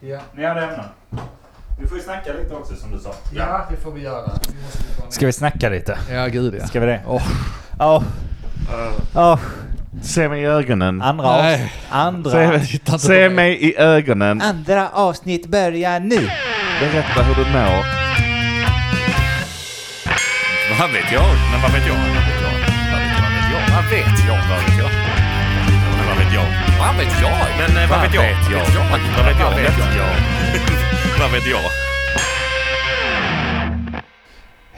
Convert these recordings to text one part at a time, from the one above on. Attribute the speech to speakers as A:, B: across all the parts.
A: Ja.
B: Ni hade ämnen. Vi får ju snacka lite också som du sa.
A: ja, det får vi göra. Vi måste dra ner.
B: Ska vi snacka lite?
A: Ja, gud ja.
B: Ska vi det?
A: Åh.
B: Ja. Ja.
C: Se mig i ögonen.
D: Ah,
B: Andra
A: Nej.
B: avsnitt.
C: Se,
B: Andra.
C: se mig i ögonen.
D: Ah.
B: Andra avsnitt börjar nu.
C: Berätta hur du mår.
D: Vad vet jag? Men vad vet jag? Vad vet jag? Vad vet jag? Vad vet jag? Men Vad vet jag? Vad vet jag? Men eh, vad vet jag? Vad vet jag? Vad vet jag? Vad vet jag?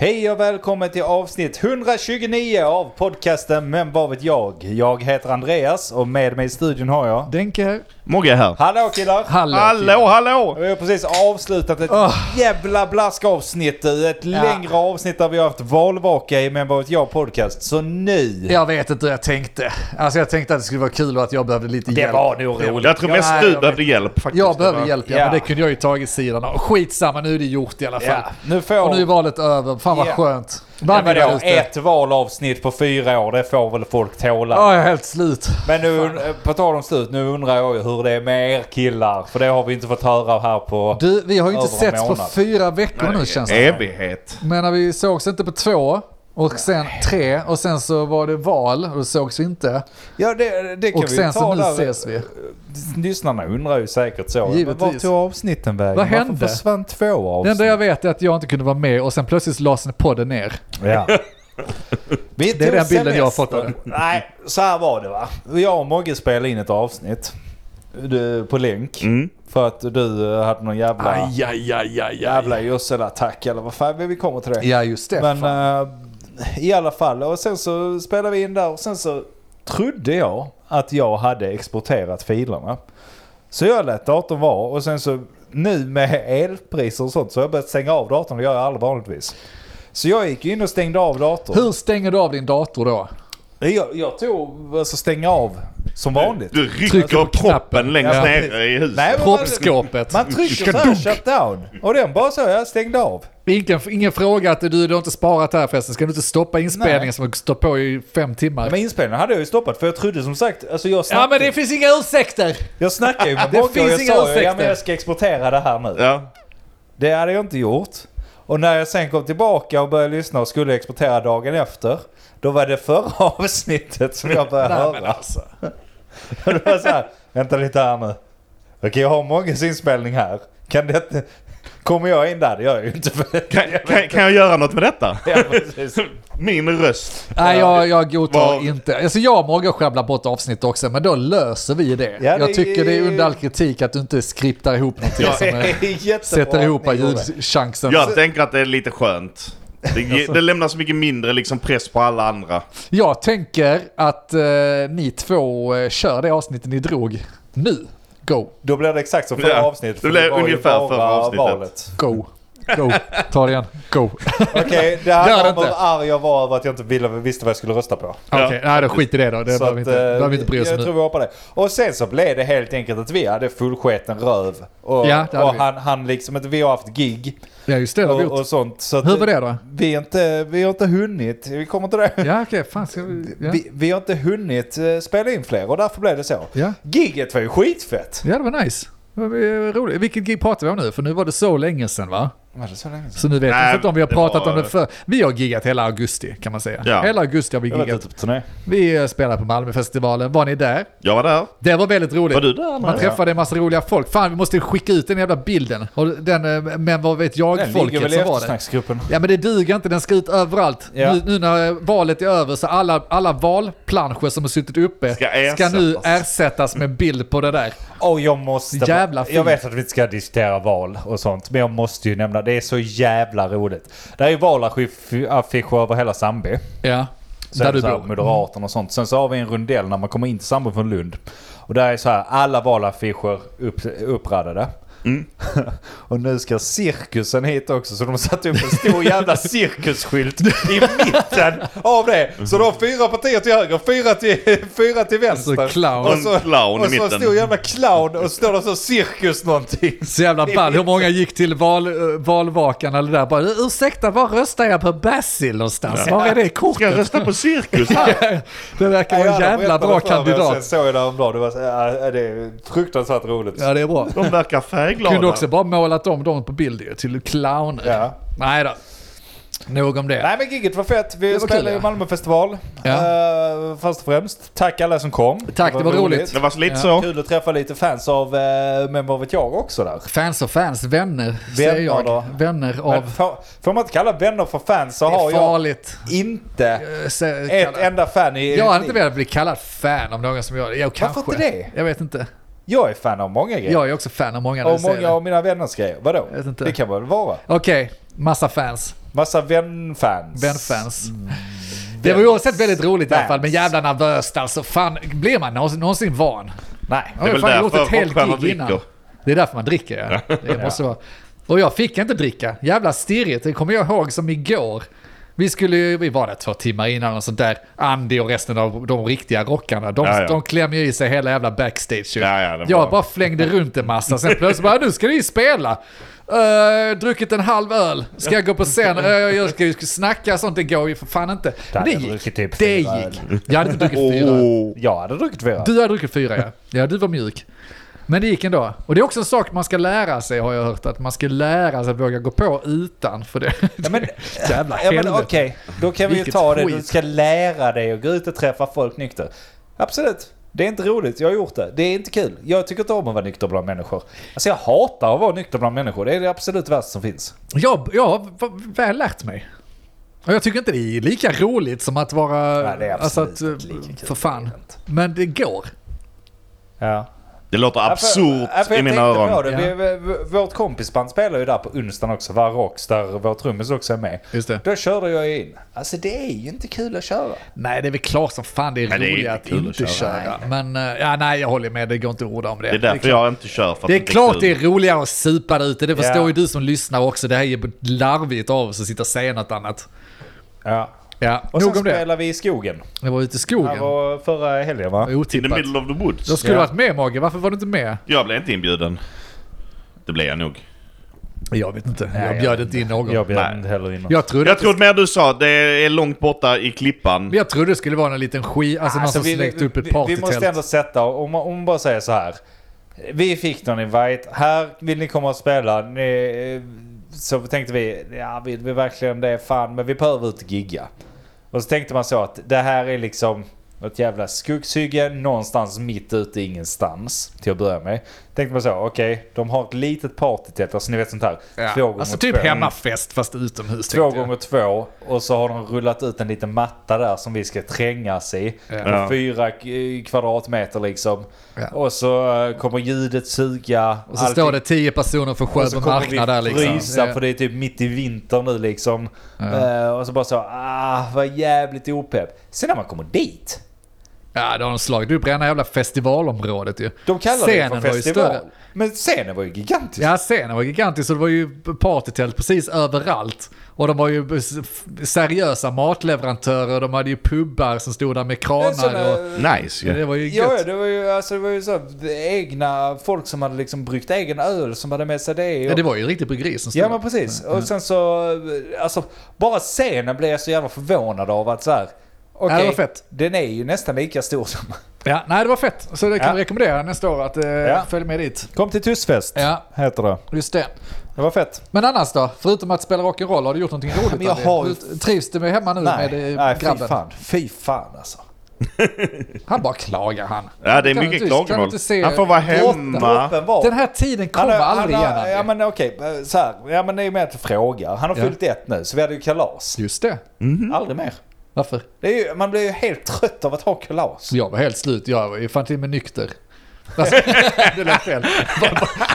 B: Hej och välkommen till avsnitt 129 av podcasten Men vad vet jag? Jag heter Andreas och med mig i studion har jag...
A: Denke.
C: Mogge är här.
B: Hallå killar!
A: Hallå.
C: Hallå, hallå!
B: Vi har precis avslutat ett
A: Åh.
B: jävla blaskavsnitt du. Ett längre avsnitt där vi har haft valvaka i Men vad vet jag podcast. Så nu...
A: Jag vet inte hur jag tänkte. Alltså jag tänkte att det skulle vara kul och att jag behövde lite
B: Det
A: hjälp.
B: var nog roligt.
C: Jag tror mest
B: Ja,
C: du
B: jag
C: behövde hjälp faktiskt.
A: Jag behöver hjälp, ja,
B: Ja.
A: men det kunde jag ju tagit sidan av. Skitsamma, nu är det gjort i alla fall.
B: Ja, nu får...
A: Och nu är valet över. Fan vad
B: Ja.
A: skönt.
B: Ja,
A: Vann
B: men
A: vi där
B: då,
A: ute?
B: ett valavsnitt på fyra år, det får väl folk tåla.
A: Ja, jag är helt slut.
B: Men nu, eh, på tal om slut, nu undrar jag ju hur det är med er killar. För det har vi inte fått höra här på...
A: Du, vi har ju inte
B: Över en
A: setts på
B: månad.
A: fyra veckor nu
D: Alltså.
A: känns det
C: Evighet.
A: Men när vi sågs inte på två och sen tre och sen så var det val och då sågs vi inte.
B: Ja, det, det
A: Och sen så nu ses vi.
B: Eh, Lyssnarna undrar ju säkert så.
A: Givetvis.
B: Men var tog avsnitten vägen?
A: Vad hände?
B: Varför försvann två
A: Det
B: avsnitt?
A: enda jag vet är att jag inte kunde vara med och sen plötsligt lades podden ner.
B: Ja. Vi
A: Det är
B: tog
A: den bilden jag har fått av
B: semester. Nej, så här var det va. Jag och Mogge spelade in ett avsnitt. Du, på länk.
C: Mm.
B: För att du eh, hade någon jävla...
D: Aj, aj, aj, aj, aj.
B: Jävla gödselattack eller vad fan, vi kommer till det.
A: Ja, just det.
B: Men
A: fan.
B: eh, i alla fall, och sen så spelade vi in där och sen så trodde jag att jag hade exporterat filerna. Så jag lät datorn vara och sen så nu med elpriser och sånt så har jag börjat stänga av datorn, det gör jag aldrig vanligtvis. Så jag gick in och stängde av datorn.
A: Hur stänger du av din dator då?
B: Jag, jag tog alltså stänga av som vanligt.
C: Du rycker
A: Trycker på
C: upp
A: knappen.
C: proppen längst
B: Ja,
C: ner i
B: Nej,
C: huset.
B: men man,
A: Proppskåpet.
B: man trycker såhär shutdown och den bara så, jag stängde av.
A: Ingen, ingen fråga att du, du har inte sparat här förresten. Ska du inte stoppa inspelningen
B: Nej.
A: som står på i fem timmar?
B: Men inspelningen hade jag ju stoppat för jag trodde som sagt, alltså jag
A: ja,
B: snackade,
A: men det finns inga ursäkter!
B: jag snackade ju med
A: Det
B: Bogge och
A: finns
B: jag
A: inga
B: sa ju, ja
A: ursäkter."
B: men jag ska exportera det här nu.
C: Ja.
B: Det hade jag inte gjort. Och när jag sen kom tillbaka och började lyssna och skulle exportera dagen efter, då var det förra avsnittet som jag började
A: Nej,
B: höra.
A: men
B: alltså. och det var så här, vänta lite här nu. Okej, jag har Mogges inspelning här. Kan det... Kommer jag in där? Det gör jag ju inte.
C: Kan, kan, kan jag göra något med detta?
B: ja, precis.
C: Min röst.
A: Nej, jag, jag godtar
C: Var-
A: inte. Alltså jag och Morgan sjabblar bort avsnitt också, men då löser vi det.
B: Ja, det-
A: Jag tycker det är under all kritik att du inte skriptar ihop någonting som eh,
B: Jättebra
A: sätter
B: att
A: ihop
B: ni gjorde.
A: ljudchansen.
C: Jag Alltså. tänker att det är lite skönt. Det, ge- det lämnar så mycket mindre liksom press på alla andra.
A: Jag tänker att eh, ni två eh, kör det avsnittet ni drog nu. Go,
B: Då blir det exakt som förra
C: Ja,
B: avsnittet. för
C: det blir
B: var ju
C: ungefär
B: bara
C: förra avsnittet.
B: valet.
A: go, go. Ta det igen, go.
B: Okej, det
A: Gör det
B: handlar om
A: inte.
B: hur arg jag var över att jag inte ville, visste vad jag skulle rösta på.
A: Okej, nej då skit i det då. Det
B: Så
A: behöver vi inte,
B: att, eh,
A: behöver vi inte bry oss
B: Jag
A: om
B: tror
A: nu.
B: vi hoppar det. Och sen så blev det helt enkelt att vi hade fullsketen röv.
A: Ja,
B: Och,
A: det hade
B: och
A: vi.
B: han, han liksom, inte- vi har haft gig
A: Ja, just det. det har vi
B: och,
A: gjort.
B: och sånt. Så att
A: Hur var det då?
B: Vi, är inte, vi har inte hunnit, vi kommer till det.
A: Ja, okej. fan, ska vi... Ja.
B: Vi, vi har inte hunnit eh, spela in fler och därför blev det så.
A: Ja.
B: Gigget var ju skitfett.
A: ja, det var nice. Det var eh, roligt. Vilket gig pratar vi om nu? För nu var det så länge sedan va?
B: Var det så länge sedan?
A: Så nu vet
C: Nej,
A: jag inte om vi har
C: det
A: pratat
C: var-
A: om det för Vi har giggat hela augusti kan man säga.
C: Ja.
A: Hela augusti har vi
B: Jag var
A: giggat.
B: ute på turné.
A: Vi eh, spelade på Malmöfestivalen. Var ni där?
C: Jag var där.
A: Det var väldigt roligt.
C: Var du där? Anna?
A: Man träffade en massa roliga folk. Fan, vi måste skicka ut den jävla bilden. Och den, eh, men vad vet
B: Den
A: jag-folket
B: ligger väl i
A: som var det.
B: eftersnacksgruppen.
A: Ja men det duger inte, den ska ut överallt.
B: Ja.
A: Nu, nu när eh, valet är över så alla, alla valplanscher som har suttit uppe
C: Ska
A: nu
C: ersättas.
A: ersättas med en bild på det där.
B: Och jag måste...
A: Jävla
B: jag
A: fint.
B: vet att vi inte ska diskutera val och sånt, men jag måste ju nämna, det är så jävla roligt. Det är ju valaffischer över hela Sandby.
A: Ja,
B: Så
A: där
B: är det
A: du
B: så här,
A: bor.
B: Moderaterna och sånt. Sen så har vi en rundell när man kommer in till Sandby från Lund. Och där är så här, alla valaffischer upp, uppradade. och nu ska cirkusen hit också, så de har satt upp en stor jävla cirkusskylt i mitten av det. Så de har fyra partier till höger, fyra till, fyra till vänster.
A: Alltså, clown.
B: Och så,
C: En clown i
B: och så en
C: mitten.
B: stor jävla clown och står det så cirkus någonting.
A: Så jävla ball. Hur många gick till val, eh, valvakan eller där bara ursäkta, var röstar jag på Basil någonstans? Var är det
C: Ska jag
A: kortet?
C: rösta på cirkus här?
A: Det verkar vara en jävla bra
B: Jag berättade för mig och Sen
A: kandidat.
B: äh, såg jag det häromdagen, det var så, ja, det är fruktansvärt roligt.
A: Ja det är bra.
C: De verkar är glada.
A: Kunde också bara målat om dem på bild till clowner.
B: Ja.
A: Nej då. Nog om det.
B: Nej men giget var fett. Vi
A: Det var
B: spelade
A: kul,
B: ju
A: ja.
B: Malmöfestival.
A: Ja.
B: Eh, först och främst, tack alla som kom.
A: Tack, det var roligt.
C: Det var lite
A: Ja.
C: så.
B: Kul att träffa lite fans av, eh, men vad vet jag också där.
A: Fans och fans, vänner, säger jag.
B: då?
A: Vänner
B: Men
A: av...
B: får, får man inte kalla vänner för fans så
A: Det
B: har
A: är
B: jag
A: farligt.
B: inte
A: Eh, sä-
B: ett
A: kalla-
B: enda fan i...
A: jag hade inte velat bli kallad fan av någon som gör det. Jo, kanske.
B: inte det?
A: Jag vet inte.
B: Jag är fan av många grejer.
A: Jag är också fan av många när
B: och
A: du säger
B: många
A: det.
B: av mina vänners grejer. Vadå?
A: vet inte.
B: Det kan väl vara?
A: Okej, massa fans.
B: Massa vänfans.
A: Vänfans.
B: Mm.
A: Det var ju oavsett väldigt roligt i alla
B: Fans.
A: fall, men jävla nervöst alltså. Fan, blir man någonsin, någonsin van?
B: Nej.
A: Jag har ju
C: väl
A: fan gjort
C: därför
A: ett helt
C: rockstjärnor
A: gig innan.
C: dricker.
A: Det är därför man dricker ja. Det måste vara. Och jag fick inte dricka. Jävla stirrigt. Det kommer jag ihåg som igår. Vi skulle ju, vi var där två timmar innan och sånt där. Andy och resten av de riktiga rockarna, de,
C: Ja, ja.
A: de klämmer ju i sig hela jävla backstage ju.
C: Ja, ja, det
A: Jag
C: var-
A: bara flängde runt en massa, sen plötsligt bara nu ska ni spela. Uh, druckit en halv öl, ska jag gå på scen? Eh, jag ska ju snacka sånt, det går ju för fan inte. Men det
B: hade jag
A: gick.
B: druckit
A: det
B: typ fyra
A: gick. Jag hade inte druckit fyra öl.
C: Åh.
B: Jag hade druckit flera.
A: Du har druckit fyra ja. Ja, du var mjuk. Men det gick ändå. Och det är också en sak man ska lära sig har jag hört. Att man ska lära sig att våga gå på utan. För det.
B: Ja, men,
A: Jävla
B: ja, men
A: helvete.
B: okej, då kan vi ju
A: Vilket
B: ta det. Du
A: skit.
B: ska lära dig att gå ut och träffa folk nykter. Absolut, det är inte roligt. Jag har gjort det. Det är inte kul. Jag tycker inte om att vara nykter bland människor. Alltså jag hatar att vara nykter bland människor. Det är det absolut värsta som finns.
A: Jag, jag har v- väl lärt mig. Och jag tycker inte det är lika roligt som att vara...
B: Nej, det är
A: alltså
B: absolut
A: att,
B: inte lika kul.
A: för fan. Men det går.
B: Ja.
C: Det låter absurt i mina öron.
B: Det. Vi, vi, vi- vårt kompisband spelar ju där på onsdagen också. Var Rocks, där vår trummis också är med.
A: Just det.
B: Då körde jag in. Alltså det är ju inte kul att köra.
A: Nej, det är väl klart som fan det är
C: Nej, det är
A: roligt
C: inte
A: att
C: kul att
A: inte
C: köra.
A: köra. Men eh, ja, nej, jag håller med. Det går inte att orda om det. Liksom.
C: Det är därför jag inte kör. För att
A: Det är klart
C: kul.
A: det är roligare att supa där ute. Det förstår
B: Ja.
A: ju du som lyssnar också. Det här är ju larvigt av oss att sitta och säga något annat.
B: Ja.
A: Ja,
B: Och
A: nog
B: sen
A: om det.
B: spelar vi i skogen.
A: Jag var ute i
B: Det
A: skogen.
B: var förra helgen va?
A: Det var
C: In the
A: Otippat.
C: middle of the woods.
A: Jag skulle
B: Ja.
A: varit med Mogge, varför var du inte med?
C: Jag blev inte inbjuden. Det blev jag nog.
A: Jag vet inte,
B: Nej,
A: jag
B: jag
A: bjöd
B: vet
A: inte in någon.
B: Jag
A: Jag,
B: bjöd
C: Nej.
B: inte heller in någon.
A: trodde
C: Jag
A: att
C: trodde mer du sa att det är långt borta i klippan.
A: jag trodde det skulle vara en liten skit, alltså någon
B: Alltså,
A: som släckte upp ett
B: vi, vi måste
A: partytält.
B: ändå sätta, om man, om man bara säger så här. Vi fick någon invite, här vill ni komma och spela. Ni, eh, så tänkte vi, ja vill vi verkligen det? Fan, men vi behöver ut och gigga. Och så tänkte man så att det här är liksom något jävla skogshygge någonstans mitt ute i ingenstans till att börja med. Tänkte man så, okej, de har ett litet partytält, alltså ni vet sånt här. Två
A: Ja.
B: gånger
A: Alltså
B: två.
A: typ hemmafest fast utomhus
B: Två
A: tänkte jag.
B: gånger två och så har de rullat ut en liten matta där som vi ska trängas i.
A: Ja.
B: Och Fyra k- kvadratmeter liksom.
A: Ja.
B: Och så eh, kommer ljudet suga.
A: Och så står det tio personer för
B: och så
A: Sjöbo
B: kommer vi
A: marknad där liksom.
B: frysa
A: Ja.
B: för det är typ mitt i vinter nu liksom.
A: Ja.
B: Eh, och så bara så, ah vad jävligt opepp. Sen när man kommer dit.
A: Ja, då har de slagit upp rena jävla festivalområdet ju.
B: De kallar
A: Scenen
B: det för
A: var ju
B: festival.
A: större.
B: Men scenen var ju gigantisk.
A: Ja, scenen var gigantisk så det var ju partytält precis överallt. Och de var ju s- seriösa matleverantörer, de hade ju pubbar som stod där med
B: Det är sån,
A: kranar och...
B: eh,
C: Nice ju.
A: Det var ju gött.
B: Ja, ja, det var ju, alltså, det var ju så här, egna folk som hade liksom bryggt egen öl som hade med sig det. Och,
A: Ja, det var ju en riktig bryggeri som stod
B: Ja
A: där.
B: men precis. Och sen så, alltså bara scenen blev jag så jävla förvånad av att så här. Okej,
A: Ja, det var fett.
B: den är ju nästan lika stor som...
A: Ja, nej, det var fett. Så det kan
B: Ja.
A: vi rekommendera nästa år att eh,
B: Ja.
A: följa med dit.
B: Kom till Tussfest,
A: Ja,
B: heter det.
A: just det.
B: Det var fett.
A: Men annars då? Förutom att spela rock'n'roll, har du gjort någonting roligt?
B: men jag
A: av det?
B: har ju-
A: Hur- Trivs du med hemma nu
B: Nej,
A: med eh,
B: nej fy
A: grabben?
B: fan. Fy fan alltså.
A: Han bara klagar han.
C: Ja, det är
A: Kan
C: mycket
A: du inte- kan du
C: klagomål.
A: inte se-
C: Han får vara hemma.
B: Droppen var...
A: Den här tiden
B: Han
A: kommer
B: har-
A: aldrig
B: han
A: igen.
B: har- Ja
A: Andy.
B: men okej, eh, så här. Ja men det är ju med att jag frågar. Han har
A: Ja. Mhm.
B: fyllt ett nu, så vi hade ju kalas.
A: Just det.
B: Aldrig mer.
A: Varför?
B: Det är ju, man blir ju helt trött av att ha kalas.
A: Så jag var helt slut, jag var ju fan till och med nykter. Alltså, det lät fel.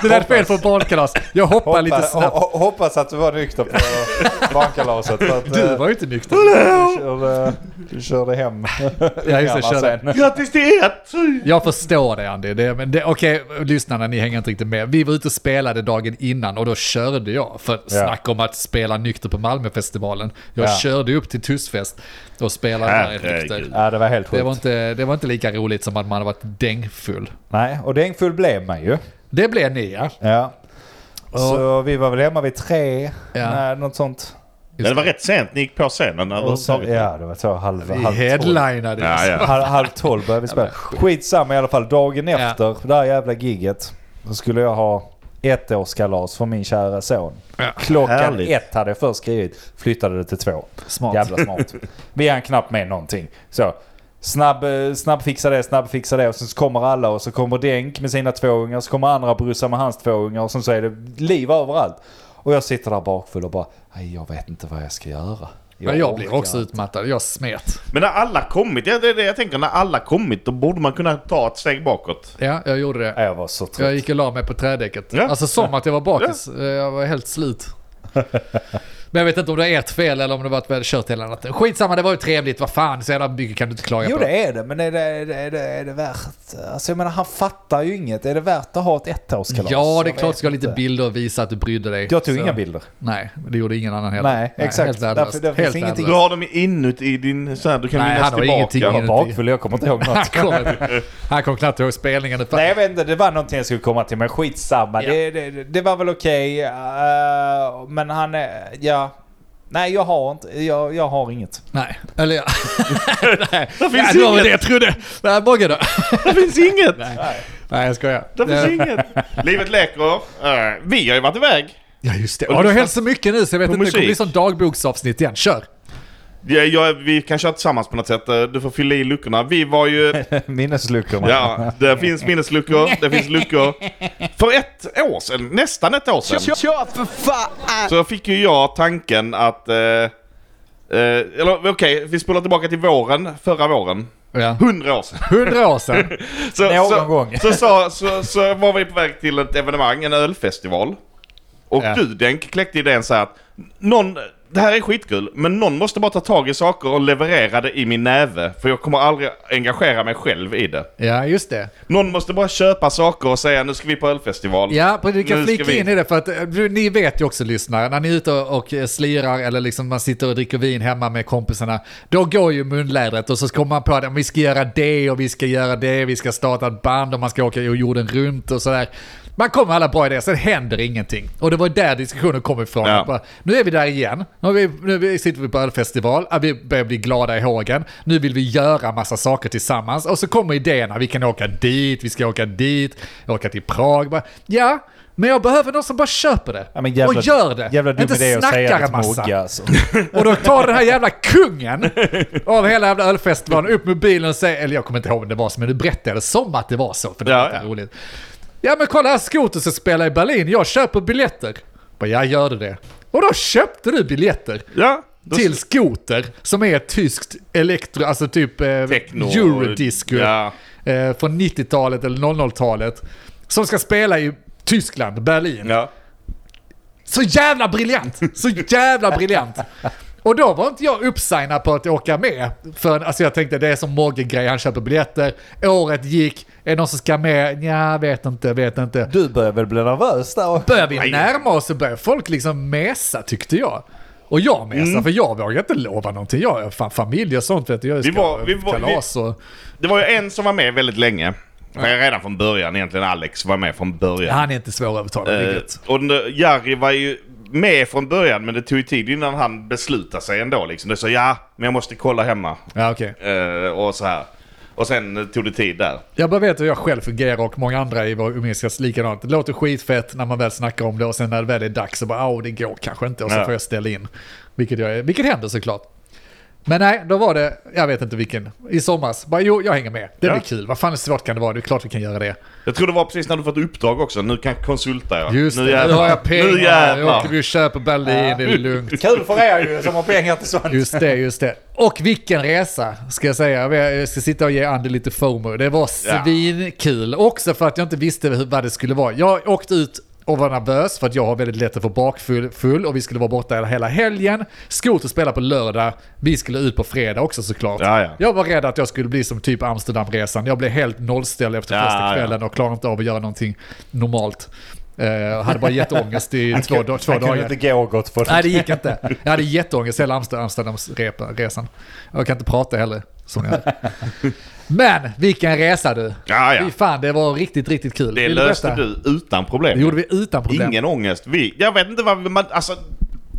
A: Det lät fel på barnkalas. Jag hoppade lite
B: Hoppas,
A: snabbt.
B: ho- ho- hoppas att du var nykter på barnkalaset. för att, eh,
A: Du var ju inte nykter.
B: Du körde, du körde hem.
A: Ja, just det,
B: Gammal
A: körde.
B: sen.
C: Grattis till ert!
A: Jag förstår det Andy. Det, men det, okej, lyssnarna ni hänger inte riktigt med. Vi var ute och spelade dagen innan och då körde jag. För snack om att spela nykter på Malmöfestivalen. Jag
B: Ja.
A: körde upp till Tussfest och spelade där
C: Herregud.
A: nykter.
B: Ja, det var helt sjukt.
A: Det var, inte, det var inte lika roligt som att man varit dängfull.
B: Nej, och dängfull blev man ju.
A: Det blev ni ja.
B: Ja. Så vi var väl hemma vid tre,
A: Ja.
B: nej, något sånt.
A: Just
C: Det var rätt sent ni gick på scenen
B: Och så,
C: överhuvudtaget.
B: ja, det var så halv,
A: Vi
B: halv tolv.
A: headlinade alltså. ju.
C: Ja, ja.
B: Halv, halv tolv började vi spela. Skitsamma i alla fall, dagen efter, det här jävla gigget, då skulle jag ha ettårskalas för min kära son. Klockan
C: Härligt.
B: ett hade jag först skrivit, flyttade det till två.
A: Smart.
B: Jävla smart. Vi hann knappt med någonting. Så. Snabb, eh, snabb fixa det, snabb fixa det och sen så kommer alla och så kommer Denk med sina två ungar, så kommer andra brusa med hans två ungar och sen så är det liv överallt. Och jag sitter där bakfull och bara, "Aj, jag vet inte vad jag ska göra.
A: Men jag blir
B: orkar
A: också utmattad, jag smet.
C: Men när alla kommit, ja, det är det jag tänker, när alla kommit då borde man kunna ta ett steg bakåt.
A: Ja, jag gjorde det.
B: Jag var så trött.
A: Jag gick och la mig på trädäcket.
C: Ja.
A: Alltså som att jag var bakis. Eh, Jag var helt slut. Men jag vet inte om det är ert fel eller om det var att vi hade kört hela natten. Skitsamma, det var ju trevligt. Vad fan, så jävla mycket kan du inte klaga
B: Jo
A: på.
B: det är det, men är det, är det, är det, är det värt? Alltså jag menar han fattar ju inget. Är det värt att ha ett ettårskalas?
A: Ja, det är
B: Jag
A: klart
B: vet
A: du ska ha lite
B: inte.
A: bilder och visa att du brydde dig.
B: Jag tog
A: Så-
B: inga bilder.
A: Nej, det gjorde ingen annan heller.
B: Nej, exakt.
A: Helt värdelöst.
B: Därför- det finns
A: Helt
B: ingenting-
C: Du
A: värdelöst.
C: har dem inuti din... Så här, du kan
A: Alltså- Nej,
C: minnas
A: han har
C: tillbaka.
A: ingenting.
B: Jag var bakfull, jag kommer inte ihåg
A: Han
B: något.
A: kommer, han kommer knappt ihåg spelningen. Det fan-
B: Nej jag vet inte, det var någonting jag skulle komma till men skitsamma.
A: Ja.
B: Det, det, det var väl okej. eh, men han är... Ja. Nej jag har inte, jag, jag har inget.
A: Nej, eller ja. Nej, det
C: finns
A: det var väl
C: inget.
A: det jag trodde. Nej, Bogge då?
C: Det finns inget!
A: Nej, jag skojar.
C: Det finns inget! Livet leker. Eh, vi har ju varit iväg.
A: Ja, just det. Ja, det har hänt så mycket nu så jag vet
C: På
A: inte. Det kommer bli
C: musik.
A: som dagboksavsnitt igen. Kör!
C: Jag, jag, vi kan köra tillsammans på något sätt. Eh, Du får fylla i luckorna. Vi var ju...
B: Minnesluckorna.
C: Ja, det finns minnesluckor. Det finns luckor. För ett år sedan, nästan ett år sedan,
E: Kör för fan!
C: så fick ju jag tanken att... Eh, eh, eller okej, vi spolar tillbaka till våren, förra våren.
A: Ja.
C: Hundra år sedan.
A: Hundra år sedan.
C: Så,
B: Någon
C: så,
B: gång.
C: Så, så, så, så var vi på väg till ett evenemang, en ölfestival. Och
A: Ja.
C: du Denk kläckte idén så här att någon, det här är skitkul, men någon måste bara ta tag i saker och leverera det i min näve. För jag kommer aldrig engagera mig själv i det.
A: Ja, just det.
C: Någon måste bara köpa saker och säga nu ska vi på ölfestival.
A: Ja, men du kan
C: Nu ska
A: flika
C: vi-
A: in i det för att eh, du- ni vet ju också lyssnare, när ni är ute och och, eh, slirar eller liksom man sitter och dricker vin hemma med kompisarna, då går ju munlädret och så kommer man på att vi ska göra det och vi ska göra det, vi ska starta ett band och man ska åka jorden runt och sådär. Man kommer med alla bra idéer, sen händer ingenting. Och det var ju där diskussionen kom ifrån.
C: Ja.
A: Bara, Nu är vi där igen, nu, har vi, nu är vi- sitter vi på ölfestival, Ah, vi börjar bli glada i hågen, nu vill vi göra massa saker tillsammans. Och så kommer idéerna, vi kan åka dit, vi ska åka dit, åka till Prag. Bara, ja, men jag behöver någon som bara köper det.
B: Ja, men jävla,
A: och gör det.
B: Jävla dum
A: Inte
B: idé att säga
A: snackar en
B: det till
A: massa.
B: Mogge alltså.
A: Och då tar den här jävla kungen av hela jävla ölfestivalen upp med bilen och säger, eller jag kommer inte ihåg om det var så, men du berättade som att det var så, för det
C: Ja,
A: var inte
C: ja.
A: roligt. Ja men kolla här Skoter som spelar i Berlin, jag köper biljetter. Bara, jag gör du det? Och då köpte du biljetter.
C: Ja, då-
A: Till Skoter, som är ett tyskt elektro, alltså typ eh,
C: Techno och-
A: eurodisco
C: Ja.
A: eh, från 90-talet eller 00-talet. Som ska spela i Tyskland, Berlin.
C: Ja.
A: Så jävla briljant! Så jävla briljant! Och då var inte jag uppsignad på att åka med. För alltså jag tänkte det är som Mogge-grej, han köper biljetter. Året gick, är det någon som ska med? Nja, vet inte, vet inte.
B: Du börjar väl bli nervös där? och-
A: Börjar vi närma oss så börjar folk liksom mesa tyckte jag. Och jag mesar,
C: Mm.
A: för jag vågar inte lova någonting. Jag har fan familj och sånt vet du. Jag
C: Vi
A: ska
C: var- vi var-
A: kalas och...
C: Det var ju en som var med väldigt länge. Redan från början egentligen. Alex var med från början.
A: Han är inte svårövertalad, det är
C: Eh,
A: gött.
C: och nu- Jari var ju med från början men det tog ju tid innan han beslutade sig ändå. Liksom. Det sa ja, men jag måste kolla hemma.
A: Ja, okej.
C: Eh, och så här. Och sen eh, tog det tid där.
A: Jag bara vet hur jag själv fungerar och många andra i vår umgängeskrets likadant. Det låter skitfett när man väl snackar om det och sen när det väl är dags så bara åh det går kanske inte och så
C: Ja.
A: får jag ställa in. Vilket, jag, är- vilket händer såklart. Men nej, då var det, jag vet inte vilken, i somras. Bara, jo, jag hänger med. Det
C: Ja.
A: blir kul. Vad fan svårt kan det vara? Det är klart vi kan göra det.
C: Jag tror det var precis när du fått uppdrag också. Nu kan jag konsulta jag.
A: Just
C: nu
A: det, nu
C: jävlar.
A: har jag pengar.
C: Nu
A: Nu åker vi
C: jävlar.
A: och köper Berlin, det är lugnt.
B: Kul för er ju som har pengar till sånt.
A: Just det, just det. Och vilken resa, ska jag säga. Jag ska sitta och ge Andy lite FOMO. Det var svinkul. Också för att jag inte visste hur, vad det skulle vara. Jag åkte ut och var nervös för att jag har väldigt lätt att få bakfull full, och vi skulle vara borta hela- hela helgen. Skoter spelar på lördag. Vi skulle ut på fredag också såklart.
C: Ja, ja.
A: Jag var rädd att jag skulle bli som typ Amsterdamresan. Jag blev helt nollställd efter
C: Ja,
A: första
C: ja.
A: kvällen och klarade inte av att göra någonting normalt. Eh, hade bara jätteångest i två, da- två
B: Han
A: dagar.
B: kunde inte gå gott för
A: Nej,
B: det.
A: det gick inte. Jag hade jätteångest hela Amster- Amsterdamsresan. Jag kan inte prata heller. Som jag. Men vilken resa du!
C: Ja, ja.
A: Fy fan, det var riktigt, riktigt kul.
C: Det
A: Vill
C: löste
A: berätta?
C: du utan
A: Det
C: problem.
A: gjorde vi utan problem.
C: Ingen ångest. Vi, jag vet inte vad man... Alltså,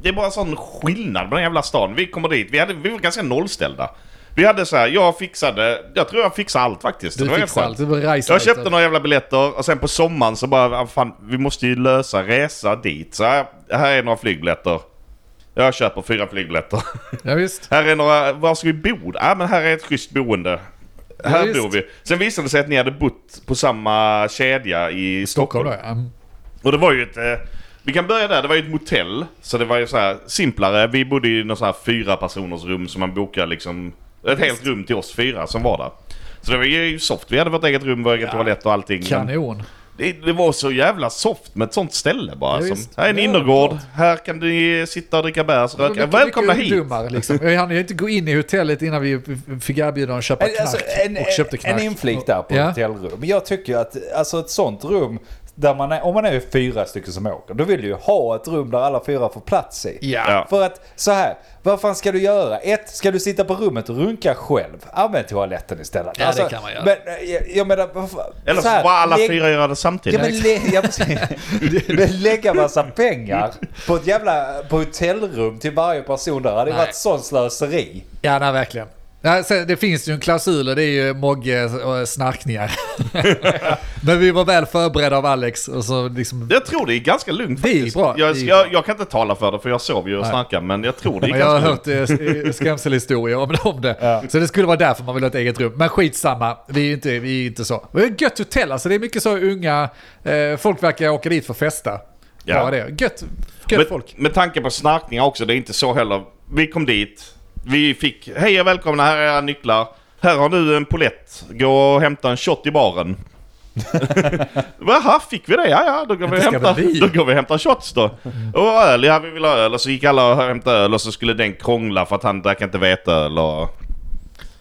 C: det är bara sån skillnad på den jävla stan. Vi kommer dit. Vi, hade, vi var ganska nollställda. Vi hade så här, jag fixade, jag tror jag fixade allt faktiskt. Det
A: Du
C: var
A: fixar
C: helt
A: allt.
C: skönt.
A: Du reser
C: Jag köpte några jävla biljetter och sen på sommaren så bara, ah, fan, vi måste ju lösa resa dit. Så här, här är några flygbiljetter. Jag köper fyra flygbiljetter.
A: Ja, visst.
C: Här är några, var ska vi bo? Ja men här är ett schysst boende. Här
A: visst.
C: bor vi. Sen visade det sig att ni hade bott på samma kedja i
A: Stockholm
C: Stockholm.
A: då, ja. Mm.
C: Och det var ju ett... Eh, vi kan börja där, det var ju ett motell. Så det var ju så här simplare. Vi bodde i någon så här fyra personers rum som man bokade liksom... Ett helt rum till oss fyra som var där. Så det var ju soft. Vi hade vårt eget rum, vår egen toalett och allting. Men
A: Kanon.
C: Det, det var så jävla soft med ett sånt ställe bara.
A: Ja,
C: som,
A: visst.
C: här är en
A: Ja,
C: innergård. Här kan ni sitta och dricka bärs,
A: Det var
C: röka.
A: mycket-
C: Välkomna
A: mycket
C: hit!
A: Ungdomar, liksom. Jag hann ju inte gå in i hotellet innan vi fick erbjudan att köpa knark.
B: Alltså, en,
A: och köpte knark.
B: en inflik där på
A: Ja.
B: hotellrum. Jag tycker ju att alltså, ett sånt rum, där man är, om man är fyra stycken som åker, då vill du ju ha ett rum där alla fyra får plats i.
A: Ja.
C: Ja.
B: För att så här, vad fan ska du göra? Ett, ska du sitta på rummet och runka själv? Använd toaletten istället.
A: Ja, det kan man göra.
B: Men, eh, jag, jag menar, vad fan-
C: Eller så
B: här,
C: bara alla
B: lägg-
C: fyra gör det
B: Ja,
C: samtidigt.
B: men, lä ja, precis. men lägga massa pengar på ett jävla på hotellrum till varje person där. Det hade ju
A: Nej.
B: varit sån slöseri.
A: Ja, nej, verkligen. Ja, sen, det finns ju en klausul och det är ju Mogge och snarkningar. Men vi var väl förberedda av Alex. Och så liksom,
C: Jag tror det är ganska lugnt
A: Det är
C: faktiskt.
A: bra,
C: Jag,
A: det är
C: jag, jag kan inte tala för det för jag sov ju och snarkade men jag tror det är
A: jag har
C: ganska lugnt.
A: hört eh, skrämselhistorier om, om det. Så det skulle vara därför man vill ha ett eget rum. Men skitsamma, vi är ju inte, vi är inte så. Men det är ett gött hotell, alltså det är mycket så unga, eh, folk verkar åka dit för att festa.
C: Ja.
A: Ja. Bara det. Gött, gött
C: Med,
A: folk.
C: med tanke på snarkningar också, det är inte så heller. Vi kom dit, vi fick hej och välkomna, här är era nycklar. Här har du en polett, gå och hämta en shot i baren. Jaha, fick vi det? Ja, ja, då går vi och
A: Ska
C: hämtar,
A: väl vi?
C: då går vi och hämtar shots då. Och öl, ja vi vill ha öl. Och så gick alla och hämtade öl och så skulle den krångla för att han drack inte veteöl och...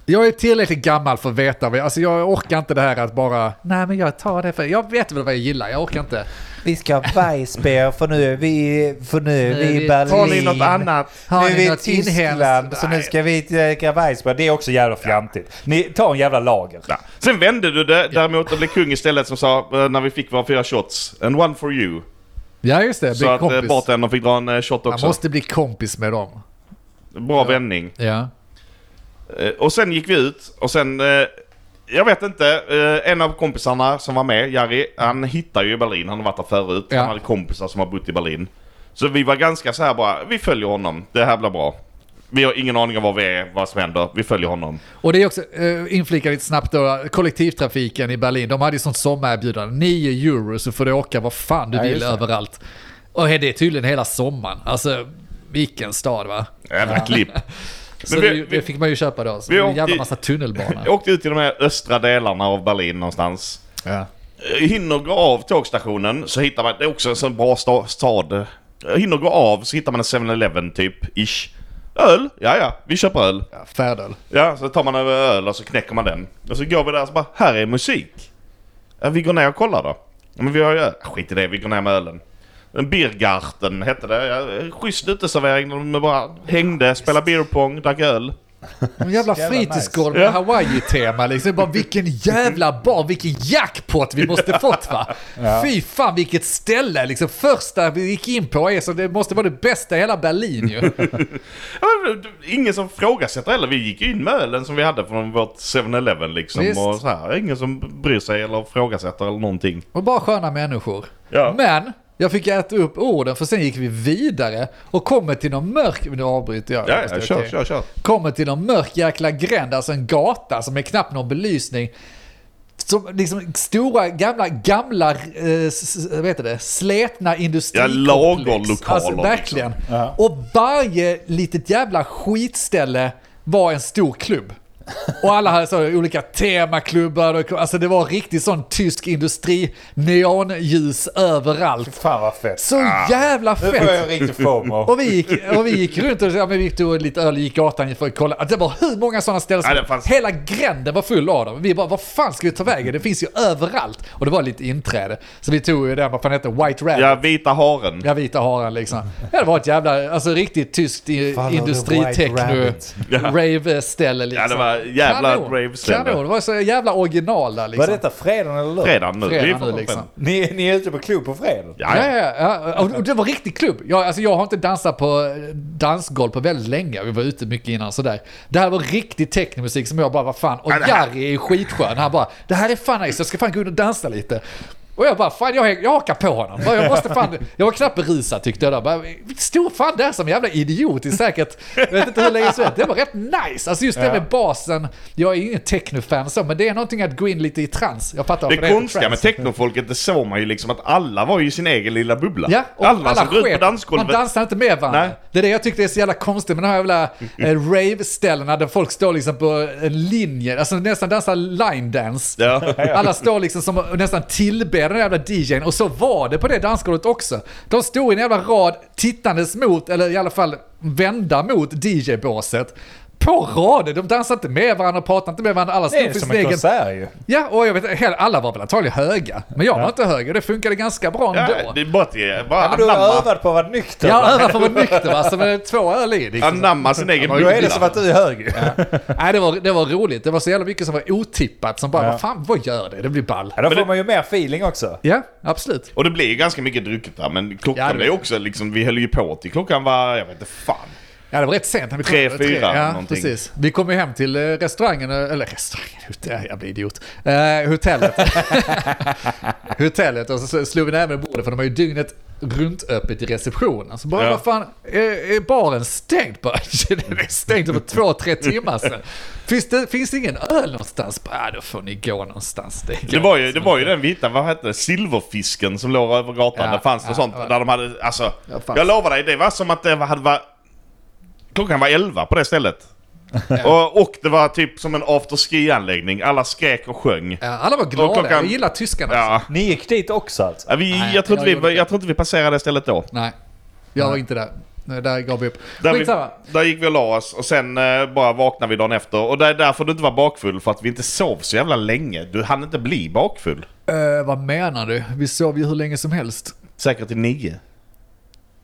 A: Jag är tillräckligt gammal för att veta. vad jag- Alltså jag orkar inte det här att bara, nej men jag tar det för, jag vet väl vad jag gillar, jag orkar inte.
B: Vi ska ha Weissbier för nu är vi, för nu är Eh, vi i Berlin.
C: Har ni något annat?
A: Har
B: nu är
A: ni
B: vi i
A: något inhemskt?
B: Tyskland så nu
A: Nej.
B: ska vi eh, dricka Weissbier. Det är också jävla fjantigt. Ni, ta en jävla lager.
C: Ja. Sen vände du det däremot och blev kung istället som sa eh, när vi fick våra fyra shots. And one for you.
A: Ja just det,
C: Så
A: bli
C: att eh,
A: kompis.
C: bartendern fick dra en eh, shot
A: Man
C: också.
A: måste bli kompis med dem.
C: Bra vändning.
A: Ja.
C: Eh, Och sen gick vi ut och sen... eh, Jag vet inte. eh, En av kompisarna som var med, Jari, han hittade ju Berlin. Han har varit där förut.
A: Ja.
C: Han hade kompisar som har bott i Berlin. Så vi var ganska så här bara, vi följer honom. Det här blir bra. Vi har ingen aning om var vi är, vad som händer. Vi följer honom.
A: Och det är också, eh, inflika lite snabbt då, kollektivtrafiken i Berlin, de hade ju sånt sommarerbjudande. 9 euro så får du åka vad fan du
B: Ja,
A: vill
B: just det.
A: överallt. Och det är tydligen hela sommaren. Alltså, vilken stad va?
C: Jävla klipp.
A: Så
C: vi-
A: det,
C: vi-
A: det fick man ju köpa då. Så
C: vi
A: det är en
C: åkte
A: jävla
C: i-
A: massa tunnelbana.
C: Jag åkte ut i de här östra delarna av Berlin någonstans. Eh,
A: Ja.
C: hinner gå av tågstationen så hittar man, det är också en sån bra sta- stad. Eh, Hinner gå av så hittar man en 7-Eleven typ, ish. Öl? Ja, ja, vi köper öl.
A: Ja, Färdöl.
C: Ja, så tar man en öl och så knäcker man den. Och så går vi där och så bara, här är musik. Ja, vi går ner och kollar då. Ja, men vi har ju öl. Skit i det, vi går ner med ölen. En Birgarten hette det. Ja, schysst uteservering där de bara hängde, spelade beerpong, drack öl.
A: En jävla
B: jävla
A: fritidsgård
C: Ja.
A: med Hawaii-tema liksom. Bara, vilken jävla bar, vilken jackpot vi måste fått va? Fy fan vilket ställe liksom. Första vi gick in på är så det måste vara det bästa i hela Berlin ju.
C: Ja, men Ingen som frågasätter heller. Vi gick ju in med ölen som vi hade från vårt 7-Eleven liksom.
A: Visst.
C: Och så här. Ingen som bryr sig eller frågasätter eller någonting.
A: Och bara sköna människor.
C: Ja.
A: Men jag fick äta upp orden för sen gick vi vidare och kommer till någon mörk... Nu avbryter jag.
C: Ja,
A: Just
C: ja,
A: det,
C: kör,
A: okej.
C: kör, kör.
A: Kommer till någon mörk jäkla gränd, alltså en gata som är knappt någon belysning. Som liksom stora gamla, gamla, eh, s- s- vad heter det, slätna industrikomplex.
C: lagerlokaler
A: Alltså verkligen.
B: Ja.
A: Och varje litet jävla skitställe var en stor klubb. Och alla hade så olika temaklubbar, och, alltså det var riktigt sån tysk industri, neonljus överallt.
B: Fan vad fett.
A: Så jävla
B: Nu får jag
A: fett!
B: riktigt fomo.
A: Och vi, gick, och vi gick runt och ja, men vi tog lite öl och gick gatan för att kolla. Alltså, Det var hur många sådana ställen som
C: Ja, det fanns-
A: Hela gränden var full av dem. Vi bara, vad fan ska vi ta vägen? Det finns ju överallt. Och det var lite inträde. Så vi tog ju den, vad fan hette White Rabbit.
C: Ja, vita haren.
A: Ja, vita haren liksom. Ja, det var ett jävla, alltså riktigt tyskt i-
B: Follow the white
A: industritechno
B: rabbit.
C: Ja.
A: rave-ställe liksom.
C: Ja, det var jävla, jävla
A: Kanon,
C: raveställe.
A: det var så jävla original där
B: Var
A: liksom.
B: detta fredagen eller lördagen?
C: Fredag nu.
A: Fredag
C: Det är
A: nu,
C: fan-
A: liksom.
B: Ni, ni är ute på klubb på fredag?
C: Ja,
A: Ja,
C: ja.
A: ja, ja. Och och det var riktig klubb. Jag, alltså, jag har inte dansat på eh, dansgolv på väldigt länge. Vi var ute mycket innan sådär. Det här var riktig technomusik som jag bara, vad fan. Och
C: Ja, det här-
A: Jari är skitskön. Han bara, det här är fan nice, jag ska fan gå in och dansa lite. Och jag bara, fan jag, häng- jag hakar på honom. Bara, Jag, måste fan, jag var knappt berusad tyckte jag. Där. Bara, stod fan där som en jävla idiot i säkert, jag vet inte hur länge som helst. Det var rätt nice. Alltså just det med basen, jag är ingen technofan så, men det är någonting att gå in lite i trans. Jag fattar
C: Det
A: varför heter
C: konstiga med
A: trance.
C: technofolket, det såg man ju liksom att alla var ju i sin egen lilla bubbla.
A: Ja, och
C: alla, som går ut
A: sket.
C: på dansgolvet.
A: Man dansar inte med varandra.
C: Nej. Mm.
A: Det är det jag tyckte är så jävla konstigt med de här jävla eh, rave-ställena där folk står liksom på en linje, alltså nästan dansar line dance.
C: Ja.
A: Alla står liksom som och nästan tillber den jävla DJn och så var det på det dansgolvet också. De stod i en jävla rad tittandes mot, eller i alla fall vända mot DJ-båset. På raden, de dansade inte med varandra och pratade inte med varandra. Alla
B: Det
A: stod
B: är
A: för
B: som
A: sin
B: en
A: egen...
B: konsert ju.
A: Ja, och jag vet inte, hela- alla var väl antagligen höga. Men jag var inte hög och det funkade ganska bra ändå.
C: Ja, det är bara att eh, bara
B: Ja, men du har
C: anamma,
B: övat på att vara nykter.
A: Jag
B: va?
A: övar för att vara nykter va, så med två öl i. Liksom.
C: anamma sin egen
B: Då är det
C: bubbla.
B: som att du är hög ju. Ja.
A: Nej, det var, det var roligt. Det var så jävla mycket som var otippat som bara,
B: Ja.
A: vad fan, vad gör det? Det blir ball.
B: Då
C: Men
B: får
C: det-
B: man ju mer feeling också.
A: Ja, absolut.
C: Och det blir ju ganska mycket drucket där, men klockan
A: Ja, det
C: är
A: blir
C: ju
A: det.
C: också liksom, vi höll ju på till klockan var, jag vet inte fan.
A: Ja, det var rätt sent. när Vi kom,
C: Tre, fyra,
A: Ja,
C: någonting.
A: precis. Vi kom ju hem till eh, restaurangen, eh, eller restaurangen, hotell, jag blir idiot. Eh, hotellet. hotellet, och så slog vi näven i bordet för de har ju dygnet runt öppet i receptionen. Så bara,
C: Ja.
A: vad fan, är, är baren stängd? Bara, Den är stängd för två, tre timmar sedan. Finns det, finns det ingen öl någonstans? Bara, äh, då får ni gå någonstans. Det,
C: Det var ju, det var ju den vi hittade, vad hette det? Silverfisken som låg över gatan.
A: Ja,
C: det fanns
A: ja,
C: det sånt
A: det var-
C: där de hade, alltså.
A: Ja, fanns.
C: jag lovar dig, det var som att det var- hade var, Klockan var 11 på det stället. och, och det var typ som en afterski-anläggning. Alla skrek och sjöng.
A: Ja, alla var glada.
C: Och klockan-
A: Jag gillar tyskarna.
C: Ja.
B: Ni gick dit också alltså?
C: Ja, vi,
A: Typ, Nej,
C: jag, tror
A: jag
C: inte vi,
A: gjorde inte.
C: jag tror inte vi passerade det stället då.
A: Nej, jag var inte där. Nej, Där gav vi upp.
C: Där, vi,
A: Skitsamma.
C: där gick vi och la oss och sen eh, bara vaknade vi dagen efter. Och det är därför du inte var bakfull, för att vi inte sov så jävla länge. Du hann inte bli bakfull.
A: Eh, vad menar du? Vi sov ju hur länge som helst.
C: Säkert till nio.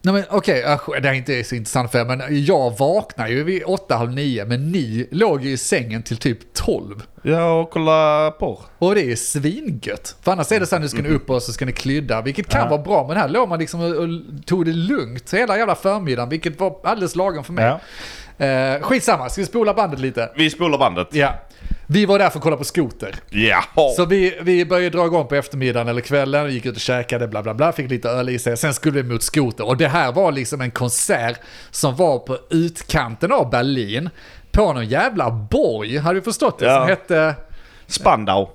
A: Nej men okej, okay, det här är inte så intressant för er, men jag vaknade ju vid åtta, halv nio, men ni låg ju i sängen till typ tolv.
C: Ja, och kolla porr.
A: Och det är svingött. För annars är det så här, nu ska ni upp och så ska ni klydda, vilket kan vara bra, men här låg man liksom och, och tog det lugnt hela jävla förmiddagen, vilket var alldeles lagom för mig.
B: Ja.
A: Eh, skitsamma, ska vi spola bandet lite?
C: Vi spolar bandet.
A: Ja. Vi var där för att kolla på skoter.
C: Ja.
A: Så vi, vi började dra igång på eftermiddagen eller kvällen, gick ut och käkade, bla bla bla, fick lite öl i sig. Sen skulle vi mot skoter. Och det här var liksom en konsert som var på utkanten av Berlin. På någon jävla borg, hade vi förstått det,
C: Ja.
A: som hette...
C: Spandau.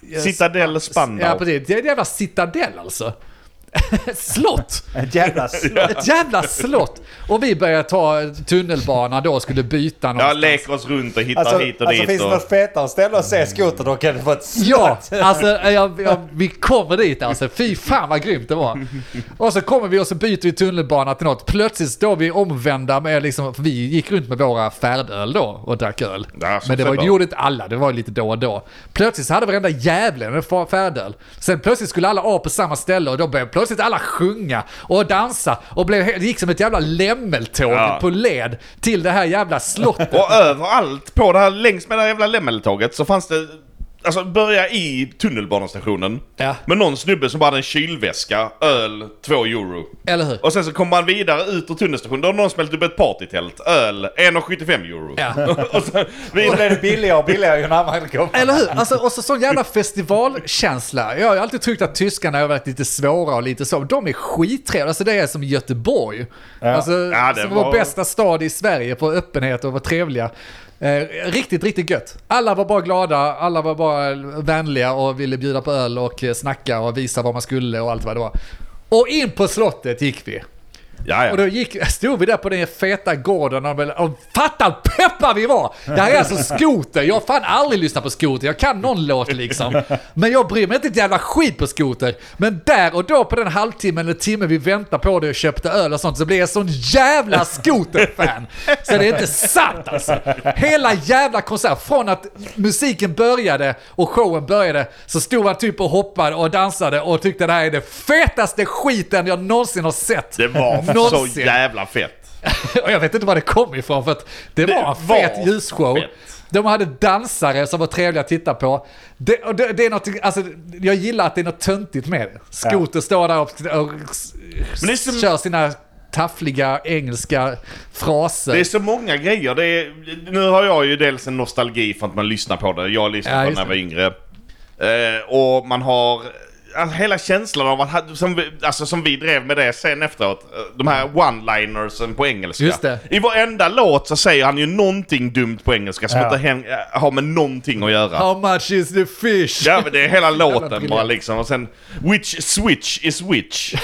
C: Citadel
A: Ja,
C: Spandau.
A: precis. Det är en jävla citadell alltså. Ett slott!
B: En jävla slott.
A: Ett jävla slott! Och vi började ta tunnelbana då och skulle byta
C: Ja,
A: någonstans.
C: leker oss runt och hittar
B: Alltså,
C: hit och
B: alltså
C: dit.
B: finns det
C: Och... Mm.
B: något fetare ställe att se skoter då kan det vara ett slott.
A: Ja, alltså jag, jag, vi kommer dit alltså. Fy fan vad grymt det var. Och så kommer vi och så byter vi tunnelbana till något. Plötsligt står vi omvända med liksom, för vi gick runt med våra färdöl då och drack öl.
C: Ja, så
A: Men det, var,
C: fett
A: det
C: då.
A: gjorde inte alla, det var ju lite då och då. Plötsligt så hade varenda jävlen en fa- färdöl. Sen plötsligt skulle alla av på samma ställe och då började plötsligt alla sjunga och dansa och blev, he- det gick som ett jävla lämmeltåg
C: Ja.
A: på led till det här jävla slottet.
C: och överallt på det här, längs med det här jävla lämmeltåget så fanns det... Alltså börja i tunnelbanestationen.
A: Ja.
C: Med någon snubbe som bara hade en kylväska, öl, två euro.
A: Eller hur?
C: Och sen så kommer man vidare ut ur tunnelstationen. Då har någon smält upp ett partytält. Öl, 1,75 euro.
A: Ja.
C: och sen
B: Då
C: vidare.
B: blir det billigare och billigare ju närmare det kommer.
A: Eller hur? Alltså, och så sån jävla festivalkänsla. Jag har ju alltid tyckt att tyskarna har varit lite svåra och lite så. De är skittrevliga. Alltså det är som Göteborg. Alltså,
C: Ja, det
A: som
C: var-
A: vår bästa stad i Sverige på öppenhet och var trevliga. Eh, riktigt, riktigt gött. Alla var bara glada, alla var bara vänliga och ville bjuda på öl och eh, snacka och visa vad man skulle och allt vad det var. Och in på slottet gick vi.
C: Ja,
A: Och då
C: ja.
A: gick, stod vi där på den feta gården och, väl- och fatta peppar vi var! Det här är alltså skoter, jag har fan aldrig lyssnat på skoter, jag kan någon låt liksom. Men jag bryr mig inte ett jävla skit på skoter. Men där och då på den halvtimme eller timme vi väntade på det och köpte öl och sånt så blev jag sån jävla skoterfan. Så det är inte sant alltså. Hela jävla konsert, från att musiken började och showen började så stod man typ och hoppade och dansade och tyckte det här är det fetaste skiten jag någonsin har sett.
C: Det var så
A: Någonsin.
C: jävla fett.
A: Och jag vet inte var det kom ifrån för att det,
C: Det
A: var en fet
C: var
A: ljusshow.
C: fett.
A: De hade dansare som var trevliga att titta på. Det, och det, det är något, alltså, jag gillar att det är något töntigt med det. Skoter står där och, och
C: Men det är som-
A: kör sina taffliga engelska fraser.
C: Det är så många grejer. Det är, nu har jag ju dels en nostalgi för att man lyssnar på det. Jag lyssnade
A: Ja,
C: på det
A: just
C: när jag
A: det.
C: var yngre. Eh, och man har... Alltså, hela känslan av att... Som vi, alltså som vi drev med det sen efteråt. eh, De här one-linersen på engelska.
A: Just det.
C: I varenda låt så säger han ju någonting dumt på engelska som
B: Ja.
C: inte häng, eh, har med någonting att göra.
A: How much is the fish?
C: Ja men det är hela låten
A: briljant.
C: bara liksom och sen Which switch is which?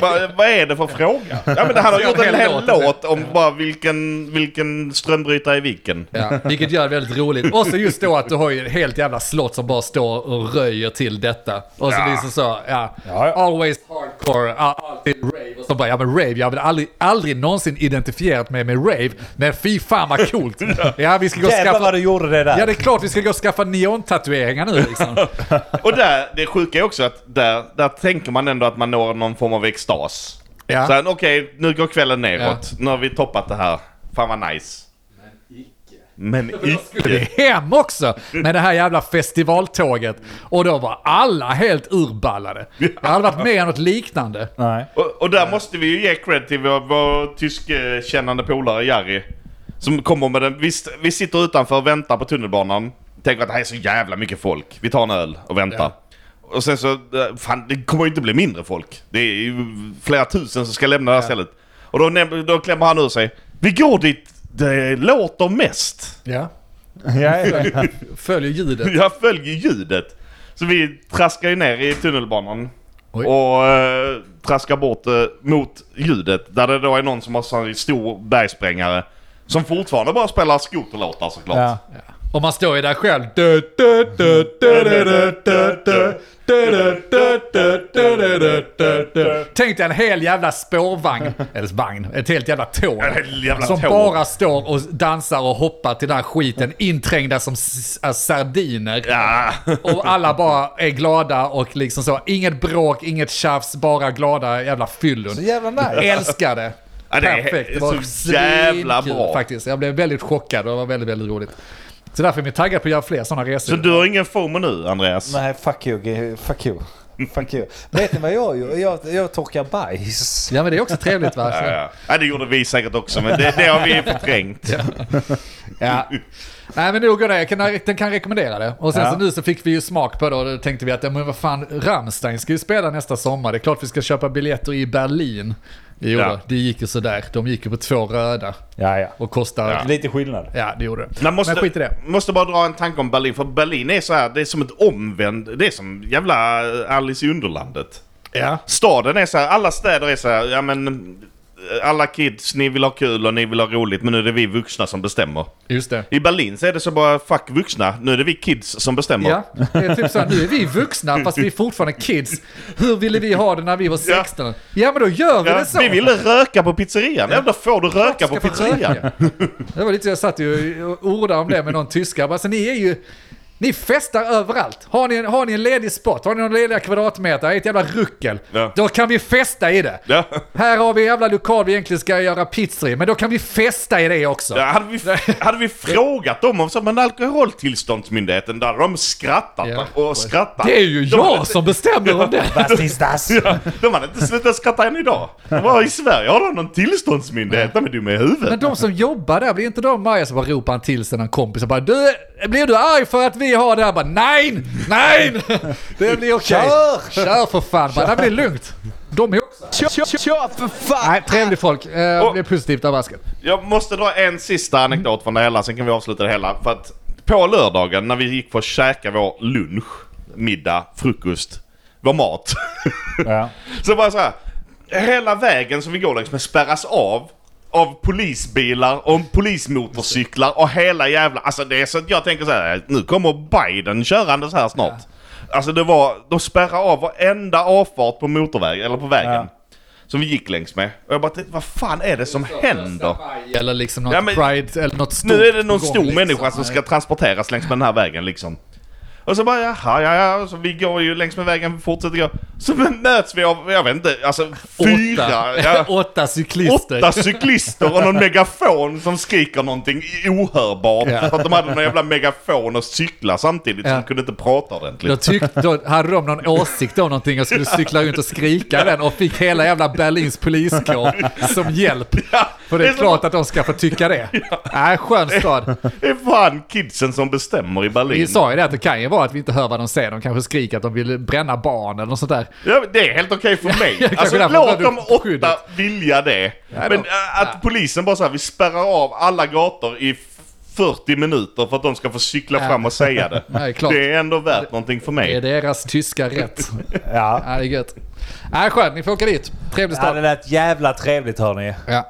C: Va, vad är det för fråga? Ja men han har gjort en hel låt om bara vilken, vilken strömbrytare är vilken.
A: Ja, vilket gör det väldigt roligt. Och så just då att du har ju ett helt jävla slott som bara står och röjer till detta. Och så
C: Ja.
A: blir det så, ja,
B: Ja, ja.
A: always hardcore, ja, alltid rave. Och så bara, ja men rave, jag har väl aldrig, aldrig någonsin identifierat mig med rave, men fy fan vad coolt. Ja, vi ska gå och
B: Jävlar
A: skaffa...
B: vad du gjorde det där.
A: Ja, det är klart vi ska gå och skaffa neontatueringar nu liksom.
C: Och där, det sjuka är också att där, där tänker man ändå att man når någon form av extas.
A: Ja.
C: Sen okej, nu går kvällen neråt. Nu har vi toppat det här. Fan vad nice. Men icke. Men icke.
A: hem också med det här jävla festivaltåget. Och då var alla helt urballade. Jag hade varit med om något liknande.
B: Nej.
C: Och, och där måste vi ju ge cred till vår, vår tyskkännande polare Jari. Som kommer med den. Vi, st- vi sitter utanför och väntar på tunnelbanan. Tänker att det här är så jävla mycket folk. Vi tar en öl och väntar.
A: Ja.
C: Och sen så, eh, fan det kommer ju inte bli mindre folk. Det är ju flera tusen som ska lämna det här stället. Och då, näm- då klämmer han ur sig. Vi går dit det låter mest.
A: Ja.
B: Ja, ja.
A: Följer ljudet.
C: Jag följer ljudet. Så vi traskar ju ner i tunnelbanan.
A: Oj.
C: Och eh, traskar bort eh, mot ljudet. Där det då är någon som har sån stor bergsprängare. Som fortfarande bara spelar alltså, skoterlåtar såklart.
B: ja.
A: Och man står ju där själv. Du, du, du, du, du, du, du, du, du, du, du, du, du, du, du, du, du. Tänk dig en hel jävla spårvagn, eller vagn, ett helt jävla tåg.
C: En hel jävla
A: som
C: tåg.
A: bara står och dansar och hoppar till den här skiten, inträngda som s- äh, sardiner.
C: Ja.
A: Och alla bara är glada och liksom så. Inget bråk, inget tjafs, bara glada jävla fyllon.
B: Så jävla nice.
A: Älskar det.
C: Ja, det är
A: Perfekt. Det
C: så
A: var
C: jävla
A: svinkul
C: bra.
A: Faktiskt. Jag blev väldigt chockad och det var väldigt, väldigt roligt. Så därför är jag taggad på att göra fler sådana resor.
C: Så du har ingen FOMO nu Andreas?
B: Nej, fuck you. ge- Fuck you. Fuck you. Vet ni vad jag gör? Jag, jag torkar bajs.
A: Ja men det är också trevligt va? Så-
C: Ja, ja. ja, det gjorde vi säkert också men det, det har vi förträngt.
A: Ja. Nej men nog om det, jag kan, den kan rekommendera det. Och sen
B: Ja.
A: så nu så fick vi ju smak på det och då tänkte vi att ja, men vad fan, Rammstein ska ju spela nästa sommar. Det är klart vi ska köpa biljetter i Berlin. Jo,
C: Ja.
A: då, det gick ju sådär. De gick ju på två röda
B: Ja, ja.
A: och kostade... Ja,
B: Lite skillnad.
A: det gjorde det.
C: Man måste,
A: men skit i det.
C: måste bara dra en tanke om Berlin, för Berlin är så här, det är som ett omvänd, det är som jävla Alice i Underlandet.
A: Ja.
C: Staden är så här, alla städer är så här, ja men alla kids, ni vill ha kul och ni vill ha roligt men nu är det vi vuxna som bestämmer.
A: Just det.
C: I Berlin så är det så bara fuck vuxna, nu är det vi kids som bestämmer.
A: Ja, det är typ så här, nu är vi vuxna fast vi är fortfarande kids. Hur ville vi ha det när vi var 16? Ja men då gör vi
C: Ja,
A: det så.
C: vi ville röka på pizzerian, ja. då får du röka på
A: Ska få
C: pizzerian.
A: röka. Det var lite så jag satt ju och ordade om det med någon tyska. Jag bara, Alltså ni är ju... Ni festar överallt. Har ni, en, har ni en ledig spot, har ni någon lediga kvadratmeter, ett jävla ruckel.
C: Ja.
A: Då kan vi festa i det.
C: Ja.
A: Här har vi en jävla lokal vi egentligen ska göra pizza i, men då kan vi festa i det också.
C: Ja, hade, vi, hade vi frågat dem om så, men alkoholtillståndsmyndigheten, där hade de skrattat
A: Ja.
C: och skrattat.
A: Det är ju
C: de hade
A: jag
C: inte-
A: som bestämmer om det.
B: Was ist das?
C: Ja, de hade inte slutat skratta än idag. De bara, i Sverige har de någon tillståndsmyndighet, de är dumma i huvudet.
A: Men de som jobbar där, blir inte de arga så bara ropar han till sina kompisar bara du, blir du arg för att vi har det här? Bara, nej, nej! Det blir okej.
B: Kör!
A: Kör för fan bara, nej, men det är lugnt. De är också...
B: Kör, kör, kör för fan!
A: Nej, trevligt folk. Eh,
C: Och-
A: det är positivt överraskad.
C: Jag måste dra en sista anekdot från det hela, sen kan vi avsluta det hela. För att på lördagen när vi gick för att käka vår lunch, middag, frukost, vår mat.
B: Ja.
C: så bara så här, hela vägen som vi går längs med spärras av. Av polisbilar och polismotorcyklar och hela jävla... Alltså det är så att jag tänker så här, nu kommer Biden körandes här snart. Alltså det var, de spärrar av varenda avfart på motorvägen, eller på vägen.
B: Ja.
C: Som vi gick längs med. Och jag bara tänkte, vad fan är det som händer?
A: Eller liksom något
C: Ja, men-
A: pride eller något stort.
C: Nu är det någon
A: på gång,
C: stor
A: liksom.
C: människa som ska transporteras längs med den här vägen liksom. Och så bara jaha, ja, ja. Och Så vi går ju längs med vägen, fortsätter gå. Så möts vi av, jag vet inte, alltså fyra. ja.
A: Åtta cyklister.
C: Åtta cyklister och någon megafon som skriker någonting ohörbart.
A: Ja.
C: För att de hade någon jävla megafon och cyklar samtidigt så
A: Ja.
C: de kunde inte prata
A: Då,
C: ordentligt.
A: tyck, då hade de någon åsikt om någonting och skulle cykla runt och skrika den och fick hela jävla Berlins poliskår som hjälp.
C: Ja,
A: För det är
C: så-
A: klart att de ska få tycka det. Nej, skön stad.
C: Det är fan kidsen som bestämmer i Berlin.
A: Vi sa ju det att det kan ju vara att vi inte hör vad de säger. De kanske skriker att de vill bränna barn eller något sånt där.
C: Ja, men det är helt okej för mig.
A: kanske
C: alltså,
A: därför
C: låt
A: tar
C: de
A: du
C: åtta
A: skyddet.
C: vilja det.
A: då.
C: men äh, att polisen bara så här, vi spärrar av alla gator i f- 40 minuter för att de ska få cykla
A: Ja.
C: fram och säga det.
A: Nej, klart.
C: Det är ändå värt någonting för
A: Det
C: mig.
A: är deras tyska rätt.
B: Ja.
A: Ja, det är gött. Nej, skönt. Ni får åka dit. Trevlig
B: Ja, det
A: stad.
B: lät jävla trevligt hörni.
A: Ja.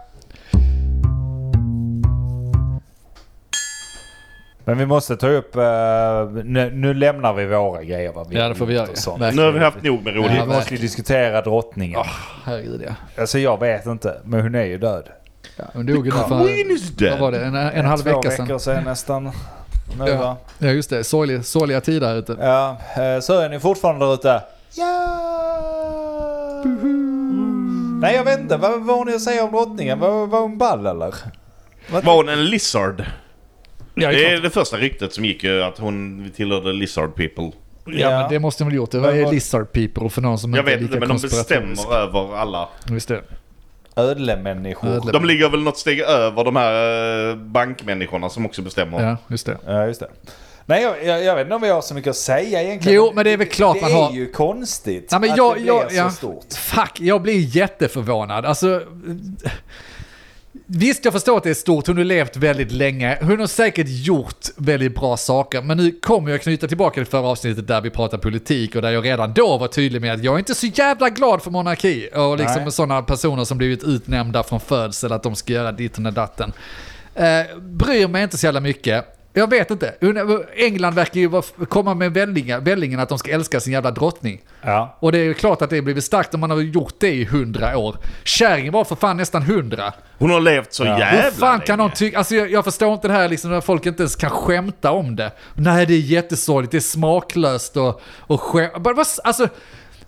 B: Men vi måste ta upp... eh, nu, nu lämnar vi våra grejer. Vad vi
A: Ja,
B: har
A: det får vi
B: gjort
A: göra,
B: och
A: ja.
B: sånt.
A: Verkligen.
C: Nu har vi haft nog med roligt.
A: Ja,
B: Vi måste ju diskutera
A: Ah.
B: drottningen.
A: Herregud ja.
B: Alltså jag vet inte, men hon är ju död.
A: Hon dog ju nu
C: Queen
A: för...
C: is
A: Vad var
C: dead.
A: det? En, en halv
B: Två
A: vecka
B: veckor
A: sedan.
B: sedan nästan. Nu va?
A: Ja, ja just det. Sorgliga, sorgliga tider här ute.
B: Ja, eh, så är ni fortfarande där ute? Ja! Nej jag vet inte, vad vad har ni att säga om drottningen? Var, var hon ball eller?
C: Var hon en lizard?
A: Ja,
C: det
A: det
C: är
A: är
C: det första ryktet som gick ju, att hon tillhörde lizard people.
A: Ja, men det måste de väl gjort. Det var
B: Men
A: ju
B: vad-
A: lizard people för någon som
C: Jag
A: inte
C: vet
A: är
C: inte,
A: lika
C: men de bestämmer över alla.
A: Visst det.
B: Ödlemänniskor.
A: Ödle-
C: De ligger väl något steg över de här eh, bankmänniskorna som också bestämmer.
A: Ja, just det.
B: Ja, just det. Nej, jag, jag, jag vet inte om vi har så mycket att säga egentligen.
A: Jo, men det är väl klart
B: det
A: man
B: är
A: har-
B: ju konstigt
A: Nej, men
B: att
A: jag,
B: det
A: jag,
B: blir
A: ja,
B: så stort.
A: Fuck, jag blir jätteförvånad. Alltså, visst, jag förstår att det är stort. Hon har levt väldigt länge. Hon har säkert gjort väldigt bra saker. Men nu kommer jag knyta tillbaka till förra avsnittet där vi pratade politik och där jag redan då var tydlig med att jag är inte så jävla glad för monarki. Och liksom
B: Nej.
A: sådana personer som blivit utnämnda från födsel att de ska göra ditten och datten. Eh, bryr mig inte så jävla mycket. Jag vet inte. England verkar ju vara- komma med vällingen, vällingen att de ska älska sin jävla drottning.
B: Ja.
A: Och det är ju klart att det blivit starkt om man har gjort det i hundra år. Kärringen var för fan nästan hundra.
C: Hon har levt så jävla
A: Hur fan kan någon
C: länge.
A: tycka... Alltså jag, jag förstår inte det här liksom när folk inte ens kan skämta om det. Nej, det är jättesorgligt, det är smaklöst och, och skämt... Alltså,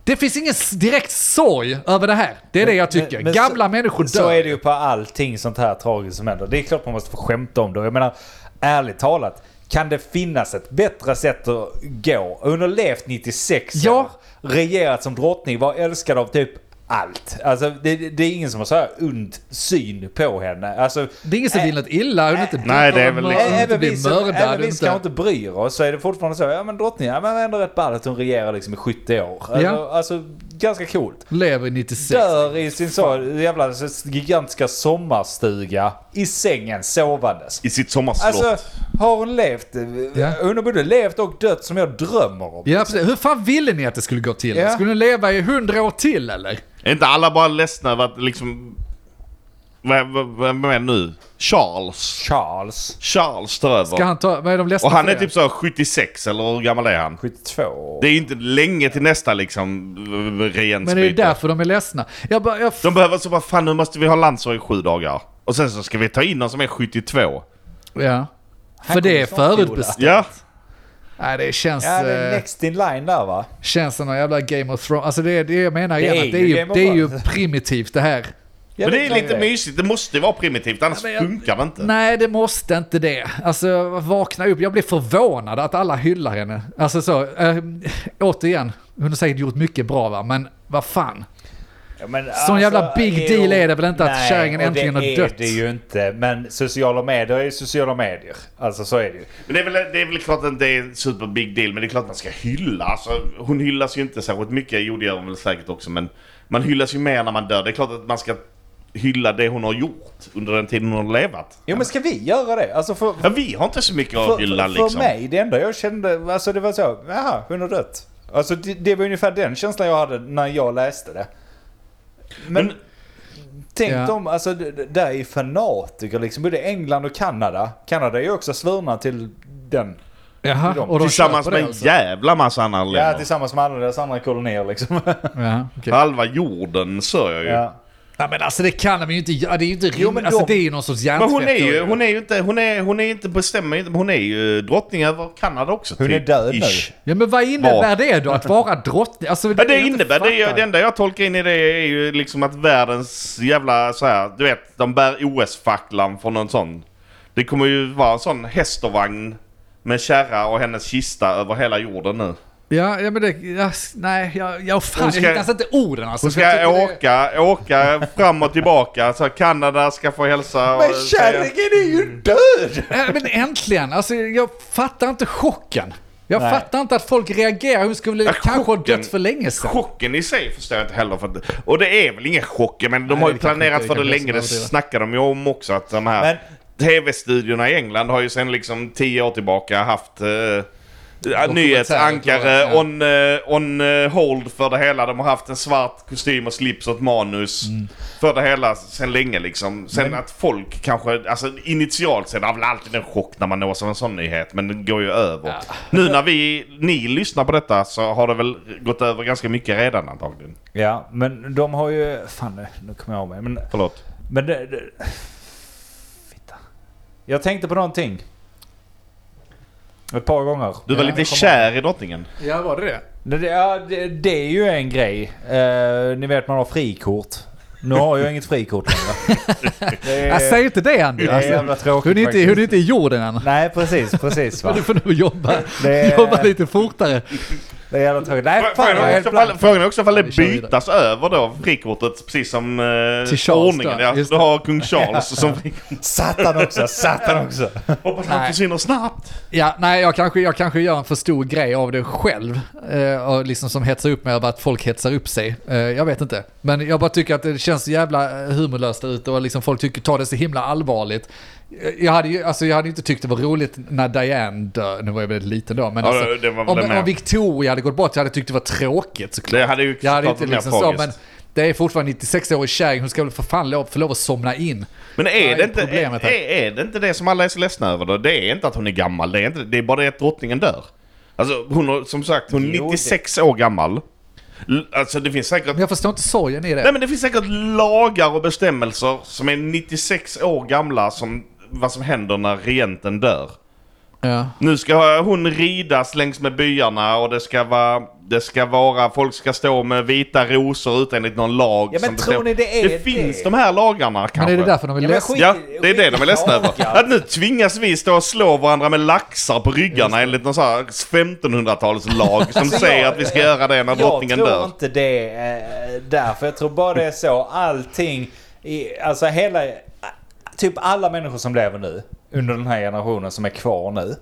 A: det finns ingen s- direkt sorg över det här. Det är det jag tycker.
B: Men- men
A: Gamla
B: så,
A: människor dör.
B: Så är det ju på allting sånt här tragiskt som händer. Det är klart man måste få skämta om det. Jag menar, ärligt talat. Kan det finnas ett bättre sätt att gå? Hon har levt 96
A: Ja.
B: år, regerat som drottning, var älskad av typ allt. Alltså det, det är ingen som har så här ond syn på henne. Alltså,
A: Det är ingen som vill något illa. Hon är inte
C: Nej, det är väl
A: mördad,
C: liksom-
A: hon är inte
B: Även vi,
A: blir
B: som,
A: mördad.
B: även
A: hon är
B: vi som
A: inte-
B: kanske inte bryr oss så är det fortfarande så. Ja men drottningen, ja men det är ändå rätt ball att hon regerar liksom i 70 år. Alltså,
A: Ja.
B: alltså ganska coolt.
A: Lever i 96.
B: Dör i sin så jävla gigantiska sommarstuga i sängen sovandes.
C: I sitt sommarslott.
B: Alltså har hon levt? eh,
A: Ja.
B: Hon har både levt och dött som jag drömmer om.
A: Ja, precis. Hur fan ville ni att det skulle gå till?
B: Ja.
A: Skulle ni leva i hundra år till eller?
C: Är inte alla bara ledsna över att liksom... Vem, vem, vem är det nu? Charles.
B: Charles.
C: Charles tar över.
A: Ska han ta, vad är de ledsna
C: Och han
A: för
C: är
A: det?
C: typ så här 76, eller hur gammal är han?
B: 72.
C: Det är ju inte länge till nästa liksom eh, regeringsbyte.
A: Men det är ju därför de är ledsna. Jag bara, jag,
C: De behöver så bara, fan nu måste vi ha landsår i sju dagar. Och sen så ska vi ta in någon som är 72.
A: ja. För
B: kommer
A: det är
B: snart, Ola.
A: förutbestämt.
C: Ja.
A: Nej, det känns,
B: Ja, det är
A: eh,
B: next in line där va?
A: känns som någon jävla Game of Thrones. Alltså det är det jag menar
B: Det
A: igen,
B: är
A: att det
B: ju
A: är ju,
B: Game of
A: det är ju
B: Thrones.
A: primitivt det här.
C: Men det
B: Jag vet
C: är
B: inte
C: lite mysigt. Det måste ju vara primitivt, annars
A: men jag-
C: funkar det inte.
A: Nej, det måste inte det. Alltså vakna upp. Jag blir förvånad att alla hyllar henne. Alltså så, eh, återigen, hon har säkert gjort mycket bra va, men vad fan.
B: Ja, Men, alltså, Sån
A: jävla big deal är det väl inte att kärringen äntligen har dött?
B: det är ju inte. Men sociala medier är ju sociala medier. Alltså så är det ju.
C: Men det är, väl, det är väl klart att det är en super big deal, men det är klart man ska hylla. Alltså, hon hyllas ju inte särskilt mycket, jo det gör hon väl säkert också, men man hyllas ju mer när man dör. Det är klart att man ska hylla det hon har gjort under den tiden hon har levat.
B: Jo men ska vi göra det? Alltså för,
C: Ja, vi har inte så mycket
B: för,
C: att hylla
B: för,
C: liksom.
B: mig, det enda jag kände, alltså det var så, jaha, hon har dött. Alltså det, det var ungefär den känslan jag hade när jag läste det. Men,
C: Men-
B: tänk
A: Ja.
B: dem, alltså det, det där är ju fanatiker liksom, både England och Kanada. Kanada är ju också svurna till den.
A: Jaha,
B: de-
A: och de
C: Tillsammans
A: köper det
C: med en
A: alltså.
C: jävla massa andra
B: Ja,
C: länder.
B: tillsammans med alla deras andra kolonier liksom.
A: ja, okej.
C: Halva jorden sörjer ju.
B: ja.
A: Ja, men alltså det kan de ju inte göra. Det är ju inte rim...
B: men
A: alltså
B: de-
A: det är ju någon sorts
C: Men
A: hjärntvätt.
C: hon är ju, hon är ju inte, hon är, hon är inte, bestämmer inte, men hon är ju drottning över Kanada också.
B: Hon
C: typ.
B: är död nu.
C: Ish.
A: Ja men vad innebär det då? Att vara drottning? Alltså,
C: Ja, det
A: jag inte
C: innebär, det, är,
A: fattar.
C: det enda jag tolkar in i det är ju liksom att världens jävla så här, du vet, de bär OS-facklan från någon sån. Det kommer ju vara en sån hästovagn med kärra och hennes kista över hela jorden nu.
A: Ja, ja men det... Jag, nej, jag, jag, fan,
C: Hon ska-
A: jag hittar alltså inte orden alltså.
C: Hon
A: för jag
C: ska
A: tycker det-
C: åka, åka fram och tillbaka. Så här, Kanada ska få hälsa. och
B: Men
C: säga-
B: kärringen är ju död!
A: Ja, men äntligen! Alltså, jag fattar inte chocken. Jag
B: Nej.
A: fattar inte att folk reagerar. Hon skulle
C: Ja,
A: kanske ha
C: chocken.
A: dött för länge sedan.
C: Chocken i sig förstår jag inte heller. För att, och det är väl ingen chock, men de
A: Nej,
C: har
A: det
C: ju
A: kanske
C: planerat för
A: inte-
C: det
A: kanske
C: länge. Det
A: inte
C: snackar de ju om också. Att de här tv-studiorna i England har ju sedan liksom tio år tillbaka haft uh, nyhetsankare
A: ja.
C: on, eh, on eh, hold för det hela. De har haft en svart kostym och slips och ett manus
A: Mm.
C: för det hela sedan länge liksom. Sen att folk kanske, alltså initialt sett, det är väl alltid en chock när man nås av en sån nyhet, men den går ju över. Nu när vi, ni lyssnar på detta så har det väl gått över ganska mycket redan antagligen.
B: Ja, men de har ju... Fan, nu kommer jag av mig. Men,
C: Förlåt.
B: men det, det, Fitta. Jag tänkte på någonting. Ett par gånger.
C: Du var
A: Ja,
C: lite kär i drottningen.
A: Ja, var det det?
B: Det, det, ja, det, det är ju en grej. Eh, ni vet man har frikort. Nu har jag inget frikort längre. Det
A: Jag säger inte det Andy. Alltså,
B: det är jävla tråkigt
A: hon, är inte,
B: faktiskt.
A: hon är inte i jorden än.
B: Nej, precis, precis va.
A: Du får nog jobba,
B: Det-
A: jobba lite fortare.
B: Det är jävla tråkigt. Nej, fan, jag
C: Frågan
B: är
C: är
B: helt
C: också
B: blank.
C: ifall- Frågan är också ifall det
A: vi kör vidare.
C: bytas över då, frikortet, precis som eh,
A: Till Charles
C: ordningen.
A: då,
C: Ja,
A: just
C: du har kung Charles som frikort.
B: Satan också, satan också.
C: Hoppas han
A: Nej.
C: försvinner snabbt.
A: Ja, nej, jag kanske, jag kanske gör en för stor grej av det själv. Eh, och liksom som hetsar upp mig över att folk hetsar upp sig. Eh, jag vet inte. Men jag bara tycker att det känns så jävla eh, humorlöst där ute och liksom folk tycker, tar det så himla allvarligt. Eh, Jag hade ju alltså jag hade inte tyckt det var roligt när Diane dör. Nu var jag väldigt liten då. Men
C: Ja,
A: alltså,
C: det- det var väl
A: om,
C: det med.
A: om Victoria hade gått bort, jag hade tyckt det var tråkigt såklart.
C: Det hade ju
A: jag hade
C: såklart
A: inte
C: varit
A: liksom
C: mer
A: så,
C: tragiskt.
A: men det är fortfarande 96-årig kärring. Hon ska väl för fan lov, få lov att somna in.
C: Men är,
A: är
C: det inte,
A: problemet
C: är,
A: här?
C: är det inte det som alla är så ledsna över då? Det är inte att hon är gammal, det är, inte, det är bara det att drottningen dör. Alltså hon har, som sagt, hon är
B: Jo, det-
C: 96 år gammal. L- Alltså det finns säkert...
A: Men jag förstår inte sorgen i det.
C: Nej men det finns säkert lagar och bestämmelser som är 96 år gamla som vad som händer när regenten dör.
A: ja.
C: Nu ska hon ridas längs med byarna och det ska vara... Det ska vara... Folk ska stå med vita rosor ut enligt någon lag.
B: Ja, men tror
C: bestämmer-
B: ni det
C: Det
B: är det?
C: finns de här lagarna kanske.
A: Men är det därför de är
B: Ja, men
A: ledsna?
B: skit-
C: Ja, det är det de är ledsna över.
B: Ja.
C: Att nu tvingas vi stå och slå varandra med laxar på ryggarna enligt någon sån här 1500-talslag som säger
B: Alltså, jag-
C: att vi ska göra det när drottningen
B: Jag tror
C: dör.
B: inte det eh, därför. Jag tror bara det är så. Allting, i, alltså hela, typ alla människor som lever nu under den här generationen som är kvar nu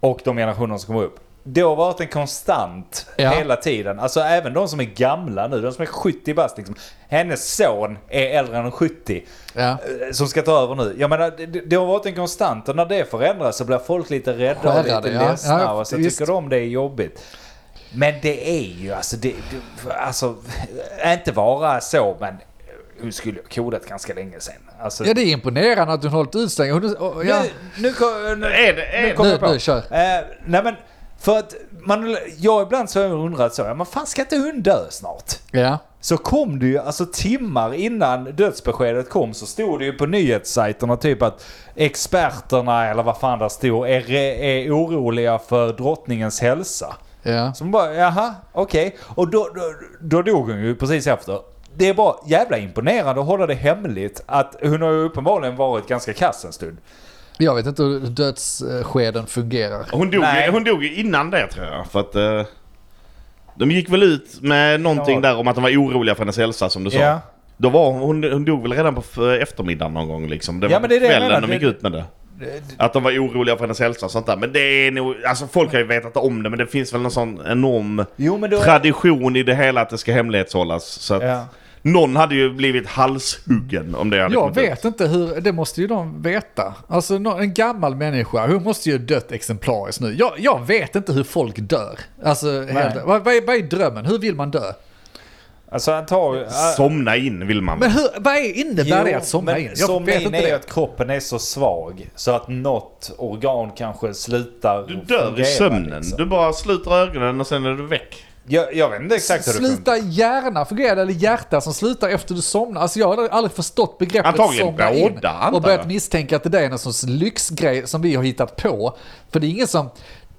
B: och de generationer som kommer upp. Det har varit en konstant
A: Ja.
B: hela tiden. Alltså även de som är gamla nu, de som är 70 bast liksom. Hennes son är äldre än 70
A: Ja.
B: eh, som ska ta över nu. Jag menar, det, det har varit en konstant och när det förändras så blir folk lite rädda
A: Skärrade,
B: och lite
A: ja.
B: ledsna
A: Ja,
B: och så
A: visst.
B: tycker de det är jobbigt. Men det är ju alltså, det, det, alltså inte vara så men hon skulle ha kodat ganska länge sen. Alltså,
A: Ja, det är imponerande att hon hållit ut så länge. Hon, och, ja.
B: nu, nu, kom- nu,
C: Är det, är
B: nu kommer
A: Nu-
B: jag på.
A: nu, kör.
B: Eh, nej men, för att man, jag ibland så har jag undrat så, ja, men fan ska inte hon dö snart?
A: ja.
B: Så kom det ju, alltså timmar innan dödsbeskedet kom så stod det ju på nyhetssajterna typ att experterna eller vad fan där stod är, är oroliga för drottningens hälsa.
A: Ja.
B: Så man bara, jaha, okej. Och då, då, då dog hon ju precis efter. Det är bara jävla imponerande att hålla det hemligt att hon har ju uppenbarligen varit ganska kass en stund.
A: Jag vet inte hur dödsskeden fungerar.
C: Hon dog,
B: Nej.
C: ju, hon dog ju innan det tror jag. För att, eh, de gick väl ut med någonting
B: Ja.
C: där om att de var oroliga för hennes hälsa som du sa.
B: Ja.
C: Då var hon, hon, hon dog väl redan på f- eftermiddagen någon gång liksom. Det var
B: Ja, men det är det jag
C: kvällen
B: menar.
C: de
B: Det-
C: gick ut med det. Att de var oroliga för hennes hälsa och sånt där. Men det är nog, alltså folk har ju vetat om det men det finns väl någon sån enorm
B: Jo men då...
C: tradition i det hela att det ska hemlighetshållas. Så att
B: Ja.
C: någon hade ju blivit halshuggen om det hade
A: Jag
C: kommit ut.
A: vet inte hur, det måste ju de veta. Alltså nå- en gammal människa, hon måste ju ha dött exemplariskt nu. Jag, jag vet inte hur folk dör. Alltså, helt, vad, vad, är, vad är drömmen? Hur vill man dö?
B: Alltså antagligen...
C: Somna in vill man väl?
A: Men hur, vad är, innebär det att somna
B: men
A: in? Jag
B: somna
A: vet
B: in
A: inte
B: är ju
A: det.
B: att kroppen är så svag så att något organ kanske slutar
C: Du dör i
B: fungera,
C: sömnen.
B: liksom.
C: Du bara sluter ögonen och sen är du väck.
B: Jag, jag vet inte exakt hur det funkar.
A: Sluta hjärna fungerar, eller hjärta som slutar efter du somnar. Alltså jag har aldrig förstått begreppet
C: Antagligen
A: somna in.
C: båda, antar
A: Och börjat
C: jag.
A: misstänka att det där är någon sorts lyxgrej som vi har hittat på. För det är ingen som...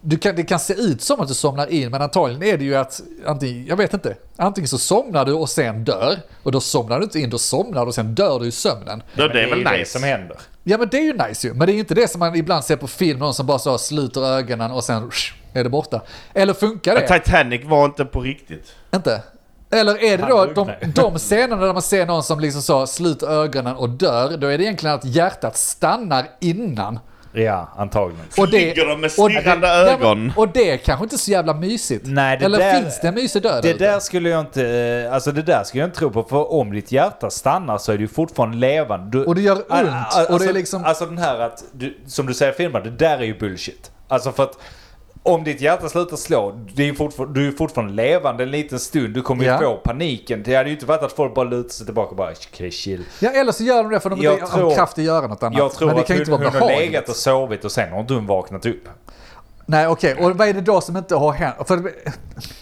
A: Du kan, det kan se ut som att du somnar in, men antagligen är det ju att, antingen, jag vet inte, antingen så somnar du och sen dör, och då somnar du inte in, då somnar du och sen dör du i sömnen.
C: Det, det är väl
B: ju det
C: nice.
B: som händer.
A: Ja men det är ju nice ju, men det är ju inte det som man ibland ser på film, någon som bara så sluter ögonen och sen är det borta. Eller funkar det?
C: Titanic var inte på riktigt.
A: Inte? Eller är det då
B: Handduk,
A: de,
B: nej.
A: de scenerna där man ser någon som liksom så sluter ögonen och dör, då är det egentligen att hjärtat stannar innan.
B: Ja, antagligen.
A: Och
C: Ligger de med stirrande ögon?
A: Ja, men- och det är kanske inte så jävla mysigt.
B: Nej, det
A: Eller
B: där-
A: finns det en mysig död
B: Det
A: ute?
B: där skulle jag inte, eh, alltså det där skulle jag inte tro på för om ditt hjärta stannar så är du ju fortfarande levande. Du,
A: Och det gör ont,
B: Ah, ah,
A: och det är
B: alltså-
A: liksom-
B: Alltså den här att, du, som du säger i filmen, det där är ju bullshit. Alltså för att om ditt hjärta slutar slå, det är ju fortfar- du är ju fortfarande levande en liten stund, du kommer ju
A: Ja.
B: få paniken. Det hade ju inte varit att folk bara lutar sig tillbaka och bara okay, chill.
A: Ja, eller så gör de det för de
B: Jag
A: inte har
B: tror-
A: kraft att göra något annat.
B: Jag tror
A: men det
B: att
A: kan ju
B: hon,
A: inte
B: hon
A: vara
B: har
A: behagligt.
B: legat och sovit och sen har inte hon vaknat upp.
A: Nej, okej. Och vad är det då som inte har hänt? För, ni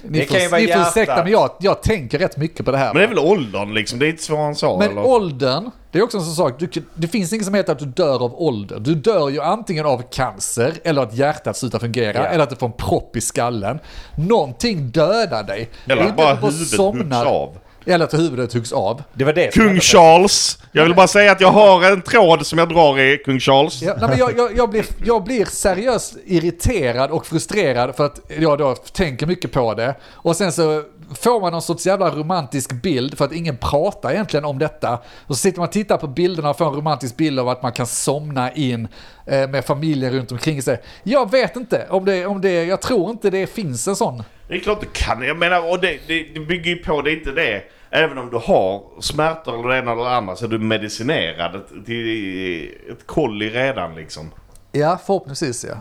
B: Det kan ju
A: får,
B: vara
A: ni får ursäkta,
B: hjärtat.
A: men jag, jag tänker rätt mycket på det här.
C: Men det är väl åldern liksom, det är inte svårare än så.
A: Men
C: eller?
A: åldern, det är också en sån sak. Du, det finns inget som heter att du dör av ålder. Du dör ju antingen av cancer, eller att hjärtat slutar fungera,
B: Ja.
A: eller att du får en propp i skallen. Någonting dödar dig. Det är
C: Eller
A: inte
C: bara
A: att du
C: huvudet
A: somnar.
C: huggs av.
A: Eller att huvudet huggs av.
B: Det var det som
C: Kung
B: hände.
C: Charles! Jag vill bara säga att jag har en tråd som jag drar i Kung Charles.
A: Ja, nej, men jag, jag, jag, blir, jag blir seriöst irriterad och frustrerad för att jag då tänker mycket på det. Och sen så får man någon sorts jävla romantisk bild för att ingen pratar egentligen om detta. Och så sitter man och tittar på bilderna och får en romantisk bild av att man kan somna in eh, med familjen runt omkring sig. Jag vet inte om det, om det, jag tror inte det finns en sån.
C: Det är klart du kan. Jag menar, och det, det, det bygger ju på, det är inte det. Även om du har smärtor eller det ena eller det andra så är du medicinerad ett- till ett kolli redan liksom.
A: Ja, förhoppningsvis ja.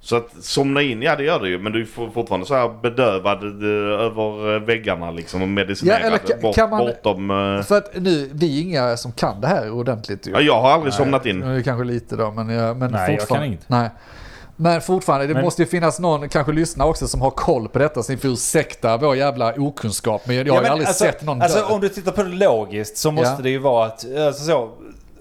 C: Så att somna in, ja det gör du ju. Men du är for- fortfarande så här bedövad eh, över eh, väggarna liksom och medicinerad
A: Ja, eller ka-
C: bort,
A: kan man-
C: bortom... eh,
A: För att nu, vi är inga som kan det här ordentligt ju.
C: Ja, jag har aldrig somnat in.
A: Nu är det kanske lite då, men, jag, men
B: Mm. Nej, jag
A: fortfarande.
B: kan inget.
A: Nej. Men fortfarande, det
B: Men-
A: måste ju finnas någon, kanske lyssnare också, som har koll på detta. Så ni får ursäkta vår jävla okunskap. Men jag har
B: men
A: ju aldrig
B: alltså,
A: sett någon
B: Alltså
A: dö.
B: om du tittar på det logiskt så måste
A: Ja.
B: det ju vara att, alltså så,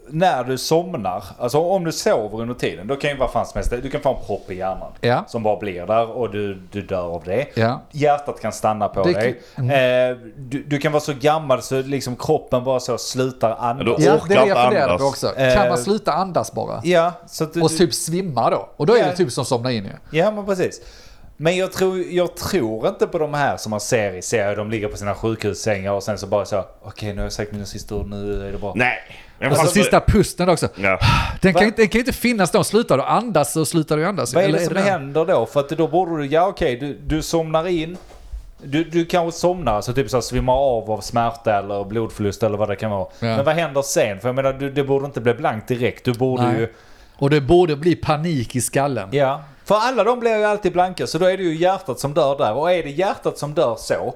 B: när du somnar, alltså om du sover under tiden, då kan ju vad fan som helst, du kan få en propp i hjärnan.
A: Ja.
B: Som bara blir där och du, du dör av det.
A: Ja.
B: Hjärtat kan stanna på
A: Det kan- mm.
B: dig. Eh, du, du kan vara så gammal så liksom kroppen bara så slutar andas.
C: Ja,
A: ja, det är det
C: orkar
A: jag funderar
C: andas.
A: på också. Kan
B: Eh,
A: man sluta andas bara?
B: Ja, så att du,
A: Och typ svimma då? Och då är
B: Ja. Alltså,
A: det typ som somnar in ju.
B: Ja, men precis. Men jag tror, jag tror inte på de här som man ser i serier. De ligger på sina sjukhussängar och sen så bara så. Okej, nu har jag sagt mina sista ord. Nu är det bra.
C: Nej. Men
A: Alltså
C: fast-
A: sista pusten också.
C: Ja.
A: Den kan,
B: Va?
A: inte, den kan inte finnas då. Slutar du andas så slutar du andas.
B: Vad är
A: Eller
B: det som
A: den-
B: händer då? För att då borde du, ja okej, du, du somnar in. Du, du kanske somnar, alltså typ så här svimmar av av smärta eller blodförlust eller vad det kan vara.
A: Ja.
B: Men vad händer sen? För jag menar, du, det borde inte bli blankt direkt. Du borde
A: Nej.
B: ju...
A: Och det borde bli panik i skallen.
B: Ja. För alla de blir ju alltid blanka, så då är det ju hjärtat som dör där. Och är det hjärtat som dör så,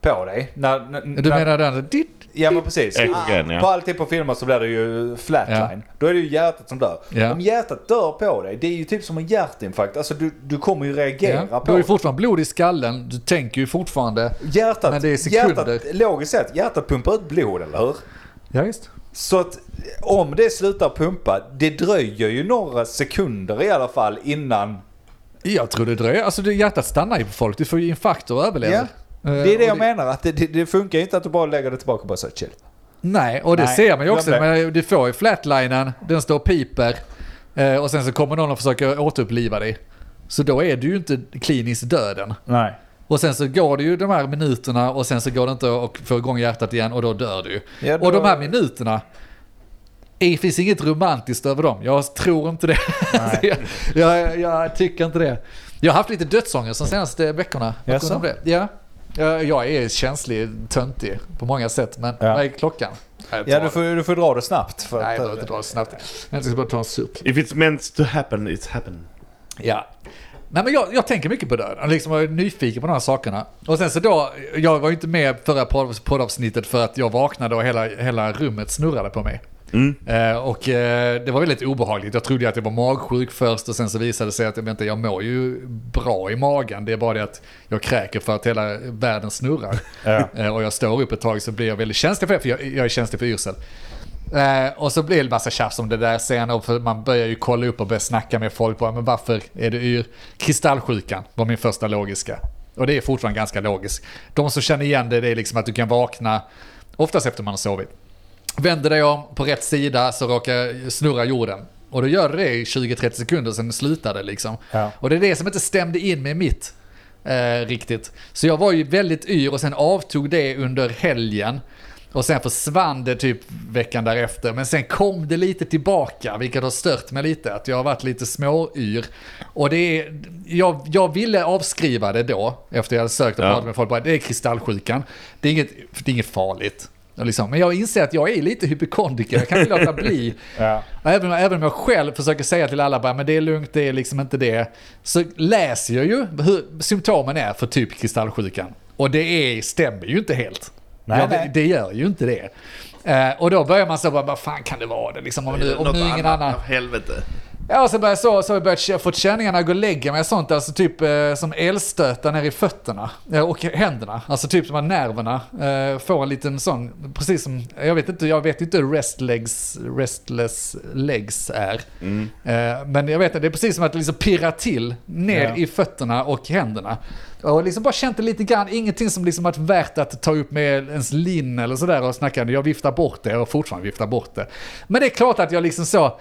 B: på dig, när... när
A: Du
B: när-
A: menar den... ditt-
B: Ja men precis.
C: Ekogren, ja.
B: På alltid på filmer så blir det ju flatline. Då är det ju hjärtat som dör.
A: Ja.
B: Om hjärtat dör på dig, det är ju typ som en hjärtinfarkt. Alltså du, du kommer ju reagera
A: Ja. Du har
B: på
A: ju
B: det.
A: fortfarande blod i skallen. Du tänker ju fortfarande...
B: Hjärtat,
A: Men det är sekunder.
B: hjärtat, logiskt sett, hjärtat pumpar ut blod, eller hur?
A: Ja, visst.
B: Så att om det slutar pumpa, det dröjer ju några sekunder i alla fall innan.
A: Jag tror det dröjer. Alltså det, hjärtat stannar ju på folk. Du får ju infarkter och överlever.
B: Det
A: Eh,
B: är
A: och
B: det jag menar, att det, det, det funkar ju inte att du bara lägger det tillbaka och bara så chill.
A: Nej, och det
B: Nej,
A: ser man ju också.
B: glöm det.
A: Men du får ju flatlinen, den står och piper. eh, Och sen så kommer någon och försöker återuppliva dig. Så då är du ju inte kliniskt döden.
B: Nej.
A: Och sen så går det ju de här minuterna och sen så går det inte att få igång hjärtat igen och då dör du.
B: Ja, då-
A: Och de här minuterna, det finns inget romantiskt över dem. Jag tror inte det. Så jag, jag, jag tycker inte det. Jag har haft lite dödsångest de senaste veckorna. Vad
B: Jaså?
A: kunde det? Ja. Jag, jag är känslig, töntig på många sätt. Men
B: Ja.
A: vad är klockan? Nej,
B: Ja, du får, du får dra det snabbt. För
A: Nej, jag
B: att,
A: behöver inte dra det snabbt. Jag ska bara ta en sup.
C: If it's meant to happen, it's happen.
A: Ja. Nej, men jag, jag tänker mycket på döden, liksom jag är nyfiken på de här sakerna. Och sen så då, jag var ju inte med förra podd- poddavsnittet för att jag vaknade och hela, hela rummet snurrade på mig. Eh, och eh, det var väldigt obehagligt. Jag trodde ju att jag var magsjuk först och sen så visade det sig att jag, inte, jag mår ju bra i magen. Det är bara det att jag kräker för att hela världen snurrar.
B: Ja.
A: Eh, och jag står upp ett tag så blir jag väldigt känslig för det, för jag, jag är känslig för yrsel. Eh, och så blir det massa tjafs om det där sen och för man börjar ju kolla upp och börja snacka med folk. Bara, men varför är det yr? Kristallsjukan var min första logiska. Och det är fortfarande ganska logiskt. De som känner igen det, det är liksom att du kan vakna, oftast efter man har sovit. Vänder dig om på rätt sida så råkar snurra jorden. Och då gör det i 20-30 sekunder, sen slutar det liksom.
B: Ja.
A: Och det är det som inte stämde in med mitt eh, riktigt. Så jag var ju väldigt yr och sen avtog det under helgen. Och sen försvann det typ veckan därefter. Men sen kom det lite tillbaka, vilket har stört mig lite. Att jag har varit lite småyr. Och det är, jag, jag ville avskriva det då, efter jag hade sökt och
C: Ja.
A: pratat med folk. Bara, det är kristallsjukan. Det är inget, det är inget farligt. Och Liksom. Men jag inser att jag är lite hypokondriker, jag kan inte låta bli.
B: Ja.
A: Och Även, även om jag själv försöker säga till alla bara, men det är lugnt, det är liksom inte det. Så läser jag ju hur symptomen är för typ kristallsjukan. Och det är, stämmer ju inte helt.
B: Nej,
A: ja, det,
B: nej.
A: det gör ju inte det. Eh, och då börjar man så bara, vad fan kan det vara det? Liksom, om nu, om nu ingen annan...
C: av Helvete.
A: Ja, och så börjar jag så, så har jag börjat jag fått känningarna att gå och lägga mig och sånt, alltså typ eh, som elstötar ner i fötterna eh, och händerna. Alltså typ som att nerverna eh, får en liten sån, precis som, jag vet inte, jag vet inte hur rest legs, restless legs är. Eh, men jag vet att det är precis som att det liksom pirrar till ner
B: Ja.
A: i fötterna och händerna. Och liksom bara känt det lite grann, ingenting som liksom varit värt att ta upp med ens lin eller sådär och snacka, jag viftar bort det och fortfarande viftar bort det. Men det är klart att jag liksom så,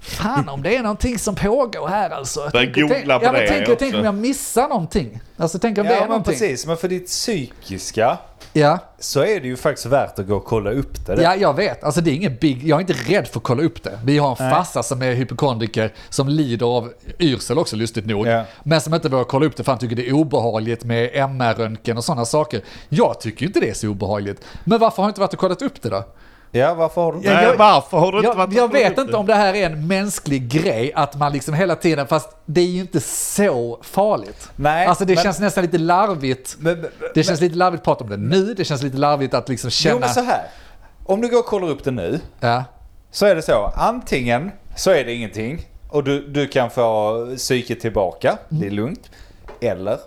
A: Fan om det är någonting som pågår här alltså.
C: Börja
A: Tänk- tänk-
C: googla på
A: ja, men
C: det
A: tänk,
C: också.
A: tänk om jag missar någonting. Alltså tänk om det är
B: Ja men
A: någonting.
B: precis, men för ditt psykiska
A: Ja.
B: så är det ju faktiskt värt att gå och kolla upp det. där.
A: ja, jag vet. Alltså det är ingen big... Jag är inte rädd för att kolla upp det. Vi har en farsa som är hypokondriker som lider av yrsel också lustigt nog.
B: Ja.
A: Men som inte vågar kolla upp det för han tycker det är obehagligt med MR-röntgen och sådana saker. Jag tycker ju inte det är så obehagligt. Men varför har jag inte varit och kollat upp det då?
B: Ja, varför har du
A: Ja,
C: Nej,
A: jag-
C: varför har du inte
A: Jag,
C: varit
A: jag vet inte om det här är en mänsklig grej, att man liksom hela tiden, fast det är ju inte så farligt.
B: Nej,
A: alltså det
B: men-
A: känns nästan lite larvigt.
B: Men- men-
A: det känns lite larvigt att prata om det nu, det känns lite larvigt att liksom känna...
B: Jo men så här. Om du går och kollar upp det nu
A: Ja.
B: så är det så. Antingen så är det ingenting och du, du kan få psyket tillbaka.
A: Mm.
B: Det är lugnt. Eller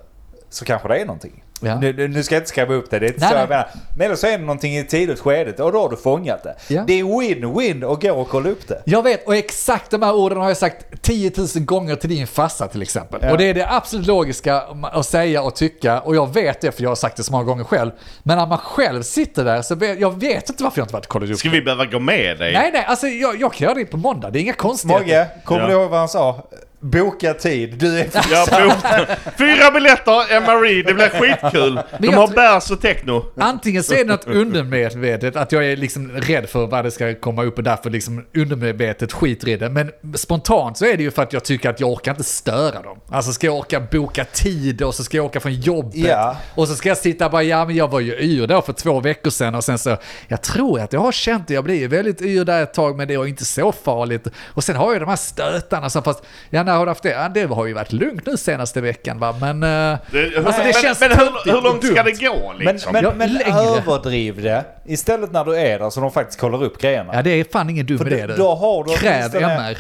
B: så kanske det är någonting.
A: Ja.
B: Nu, nu- nu ska jag inte skriva upp det, det är inte
A: Nej,
B: så jag
A: nej.
B: menar. Men eller så är det någonting i ett tidigt skede och då har du fångat det.
A: Ja.
B: Det är win-win att gå och kolla upp det.
A: Jag vet, och exakt de här orden har jag sagt 10 000 gånger till din farsa till exempel.
B: Ja.
A: Och det är det absolut logiska att säga och tycka, och jag vet det för jag har sagt det så många gånger själv. Men när man själv sitter där så vet jag vet inte varför jag inte varit och kollat upp
C: Ska vi behöva gå med dig?
A: Nej, nej, alltså jag, jag kan göra det på måndag, det är inga konstigheter.
B: Mogge, kommer
C: Ja.
B: du ihåg vad han sa? Boka tid, du är
C: Jag bokar. Fyra biljetter, MRE, det blir skitkul. De
A: jag
C: har
A: tror-
C: bärs och techno.
A: Antingen så är det något undermedvetet, att jag är liksom rädd för vad det ska komma upp och därför liksom undermedvetet skiter i det. Men spontant så är det ju för att jag tycker att jag orkar inte störa dem. Alltså ska jag orka boka tid och så ska jag åka från jobbet.
B: Ja.
A: Och så ska jag sitta och bara, ja men jag var ju yr då för två veckor sedan och sen så, jag tror att jag har känt det, jag blev ju väldigt yr där ett tag men det var inte så farligt. Och sen har jag de här stötarna som fast, ja när har du haft det? Ja, det har ju varit lugnt nu senaste veckan va, men... eh,
C: Det,
A: alltså det
C: men,
A: känns
C: men hur,
A: töntigt
C: hur långt
A: och
C: ska
A: dumt.
C: det gå
B: Men,
C: liksom?
B: men,
A: Ja,
B: men
A: längre.
B: överdriv det istället när du är där så de faktiskt kollar upp grejerna.
A: Ja det är fan ingen dum
B: För
A: idé
B: då-
A: du.
B: då har du
A: Kräv
B: åtminstone-
A: MR.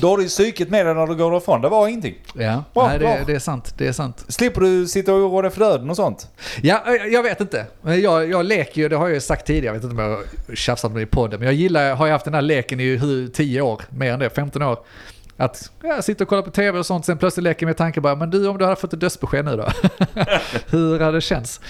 B: Då har du ju psyket med dig när du går därifrån. Det var ingenting.
A: Ja,
B: Bra,
A: nej,
B: bra.
A: det, det är sant. Det är sant.
B: Slipper du sitta och oroa dig för döden och sånt.
A: Ja, eh, jag- jag vet inte. Men Jag, jag leker ju, det har jag ju sagt tidigare, jag vet inte om jag har tjafsat med det i podden, men jag gillar, har ju haft den här leken i hur- 10 år, mer än det, 15 år. Att jag sitter och kollar på tv och sånt, sen plötsligt leker jag med tanken bara, men du om du hade fått ett dödsbesked nu då? hur hade det känts?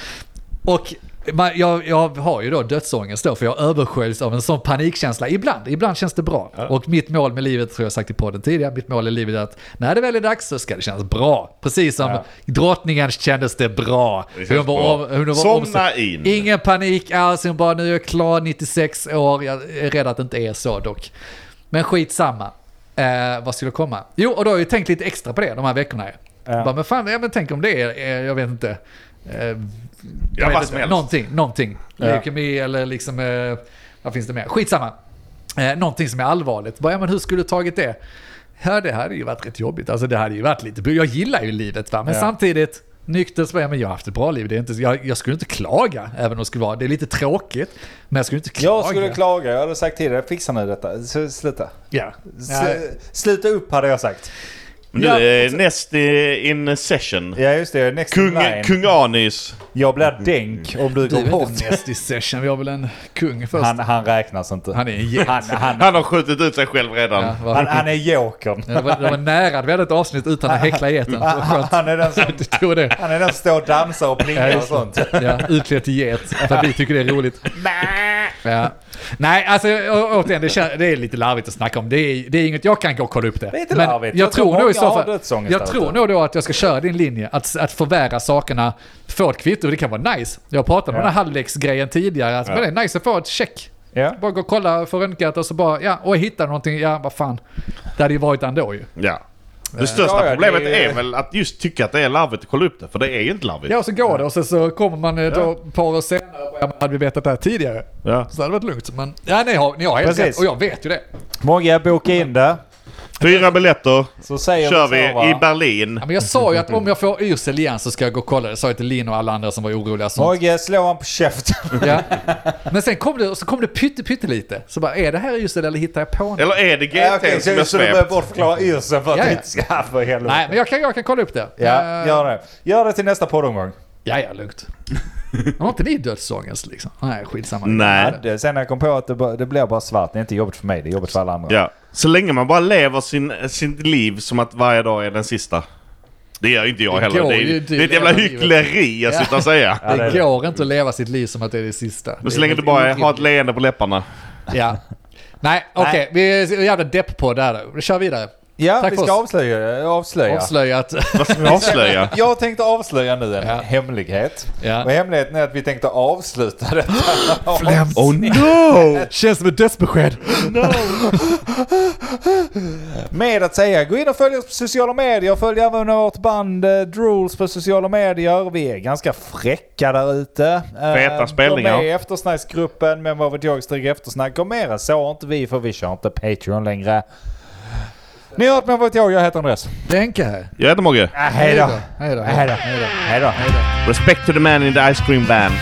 A: Och man, jag, jag har ju då dödsångest då, för jag översköljs av en sån panikkänsla. Ibland, ibland känns det bra. Och mitt mål med livet, tror jag sagt i podden tidigare, mitt mål i livet är att när det väl är dags så ska det kännas bra. Precis som drottningen kändes det bra.
C: Det känns
A: Hon var,
C: bra.
A: av- hon var
C: Somna
A: omsorg-
C: in.
A: Ingen panik alls, hon bara nu är jag klar, 96 år, jag är rädd att det inte är så dock. Men skitsamma. Eh, vad skulle jag komma? Jo, och då har jag ju tänkt lite extra på det de här veckorna.
B: Ja.
A: Ja. Bara, men fan, ja, men tänk om det är, eh, jag vet inte. Eh,
C: Ja,
A: jag
C: vad
A: vet inte.
C: som helst.
A: Någonting, någonting. Leukemi eller liksom, eh, vad finns det mer? Skitsamma. Eh, någonting som är allvarligt. Bara, ja, men hur skulle du tagit det? Ja, det hade ju varit rätt jobbigt. Alltså det hade ju varit lite, jag gillar ju livet va, men
B: Ja.
A: samtidigt, Nykter så var jag, men jag har haft ett bra liv. Det är inte, jag, jag skulle inte klaga, även om det skulle vara... Det är lite tråkigt, men jag skulle inte klaga.
B: Jag skulle klaga, jag hade sagt till dig, fixar ni detta? Så Sluta.
A: Ja.
B: Sl- Sluta upp hade jag sagt.
C: Men du
B: Ja,
C: är näst i- in session.
B: Ja just det, next in
C: Kung,
B: line.
C: kung Anis.
B: Jag blir dänk om du
A: Du
B: går
A: är
B: bort.
A: inte näst i session, vi har väl en kung först.
B: Han, han räknas inte.
A: Han är en jävel.
B: Han, han,
C: Han har skjutit ut sig själv redan.
A: Ja, vad-
B: han, han är jokern.
A: det, var, det var nära, vi hade ett avsnitt utan att häckla geten.
B: Han,
A: Så skönt.
B: han är den som...
A: Du tror det.
B: Han är den som står och dansar och plingar och sånt.
A: Ja, utklädd till get. För att vi tycker det är roligt. Ja. Nej, alltså å- återigen, det, kän- det är lite larvigt att snacka om. Det är, det är inget, jag kan gå och kolla upp det.
B: Det är inte larvigt.
A: Jag,
B: Jag tror
A: tror nog i
B: många
A: så
B: har
A: fall,
B: dödsångest
A: jag
B: där
A: tror
B: ute.
A: nog då att jag ska köra din linje. Att, att förvärra sakerna, få ett kvitto, det kan vara nice. Jag pratade om
B: Ja.
A: den här halvleksgrejen tidigare. Alltså, men det är nice att få ett check.
B: Ja.
A: Bara gå och kolla, få röntgat och så bara, ja, och hitta någonting, ja vad fan. Det hade ju varit ändå ju.
C: Ja. Det största
B: Ja, ja,
C: problemet
B: det är-
C: är väl att just tycka att det är larvigt att kolla upp det, för det är ju inte larvigt.
A: Ja, och så går det och sen så kommer man eh, då ett par år senare och bara, "Ja, men hade vi vetat det här tidigare
C: Ja.
A: så hade det varit lugnt. Men ja, ni har, ni har helt
B: Precis.
A: rätt och jag vet ju det.
B: Många boka in det.
C: Fyra biljetter,
B: Så säger
C: kör
B: så,
C: vi
B: va?
C: i Berlin.
A: Ja, men jag sa ju att om jag får yrsel igen så ska jag gå och kolla. Det sa jag till Lin och alla andra som var oroliga. och Sånt.
B: Mogge, slå honom på käften.
A: Ja. Men sen kom det, och så kom det pytte, pyttelite. Så bara, är det här yrsel eller hittar jag på något?
C: Eller är det GT
B: Ja, okej,
C: som är
B: så, så du behöver
C: svept?
B: bortförklara yrseln för att
A: Ja,
B: du
A: ja.
B: inte ska... För helvete.
A: Nej, men jag kan, jag kan kolla upp det. Eh,
B: Ja, gör det. Gör det till nästa poddomgång.
A: Ja, ja, lugnt. Har inte ni dödsångest liksom? Nej, skitsamma.
C: Nej.
B: Det- Sen när jag kom på att det, bara- det blir bara svart. Det är inte jobbigt för mig, det är jobbigt för alla andra.
C: Ja. Så länge man bara lever sin, sin liv som att varje dag är den sista. Det gör ju inte jag
A: Det
C: heller.
A: går
C: Det
A: ju
C: är,
A: inte
C: det är ett jävla
A: i livet.
C: hyckleri att sitta och säga.
B: Ja, det är
A: Det
B: det.
A: går inte att leva sitt liv som att det är det sista.
C: Men så
A: Det är
C: länge du
A: helt
C: bara
A: orimligt.
C: har ett leende på läpparna.
A: Ja. Nej, okej. Vi är en jävla depp på där då. Vi kör vidare.
B: Ja,
A: Tack
B: vi
A: för
B: ska
A: oss.
B: avslöja. avslöja.
A: Avslöjat.
C: Vad ska vi avslöja?
B: Jag tänkte avslöja nu en
A: Ja.
B: hemlighet.
A: Ja.
B: Och hemligheten är att vi tänkte avsluta detta.
A: Flämt.
C: Oh no!
A: Känns som ett dödsbesked.
B: Med att säga gå in och följ oss på sociala medier. Följ även vårt band eh, Drools på sociala medier. Vi är ganska fräcka där ute. Eh,
C: Feta spelningar.
B: Gå med i eftersnacksgruppen men vad vet jag stryk eftersnack. Och mer än så inte vi för vi kör inte Patreon längre. Ni har hört med vad vet jag. Jag heter Andreas.
A: Denke här.
C: Jag heter Mogge.
B: Ah, hej då.
A: Hej då.
B: Hej
A: Hej
B: då.
A: då.
B: Hej då.
C: Respect to the man in the ice cream van.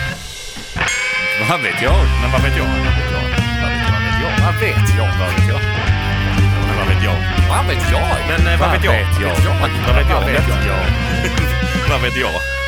D: Vad vet jag? Men vad vet jag? Vad vet jag? Vad vet jag? Vad vet jag? Men vad vet jag? eh, Vad vet jag? Men vad vet jag? Vad vet jag? Vad vet jag? Vad vet jag?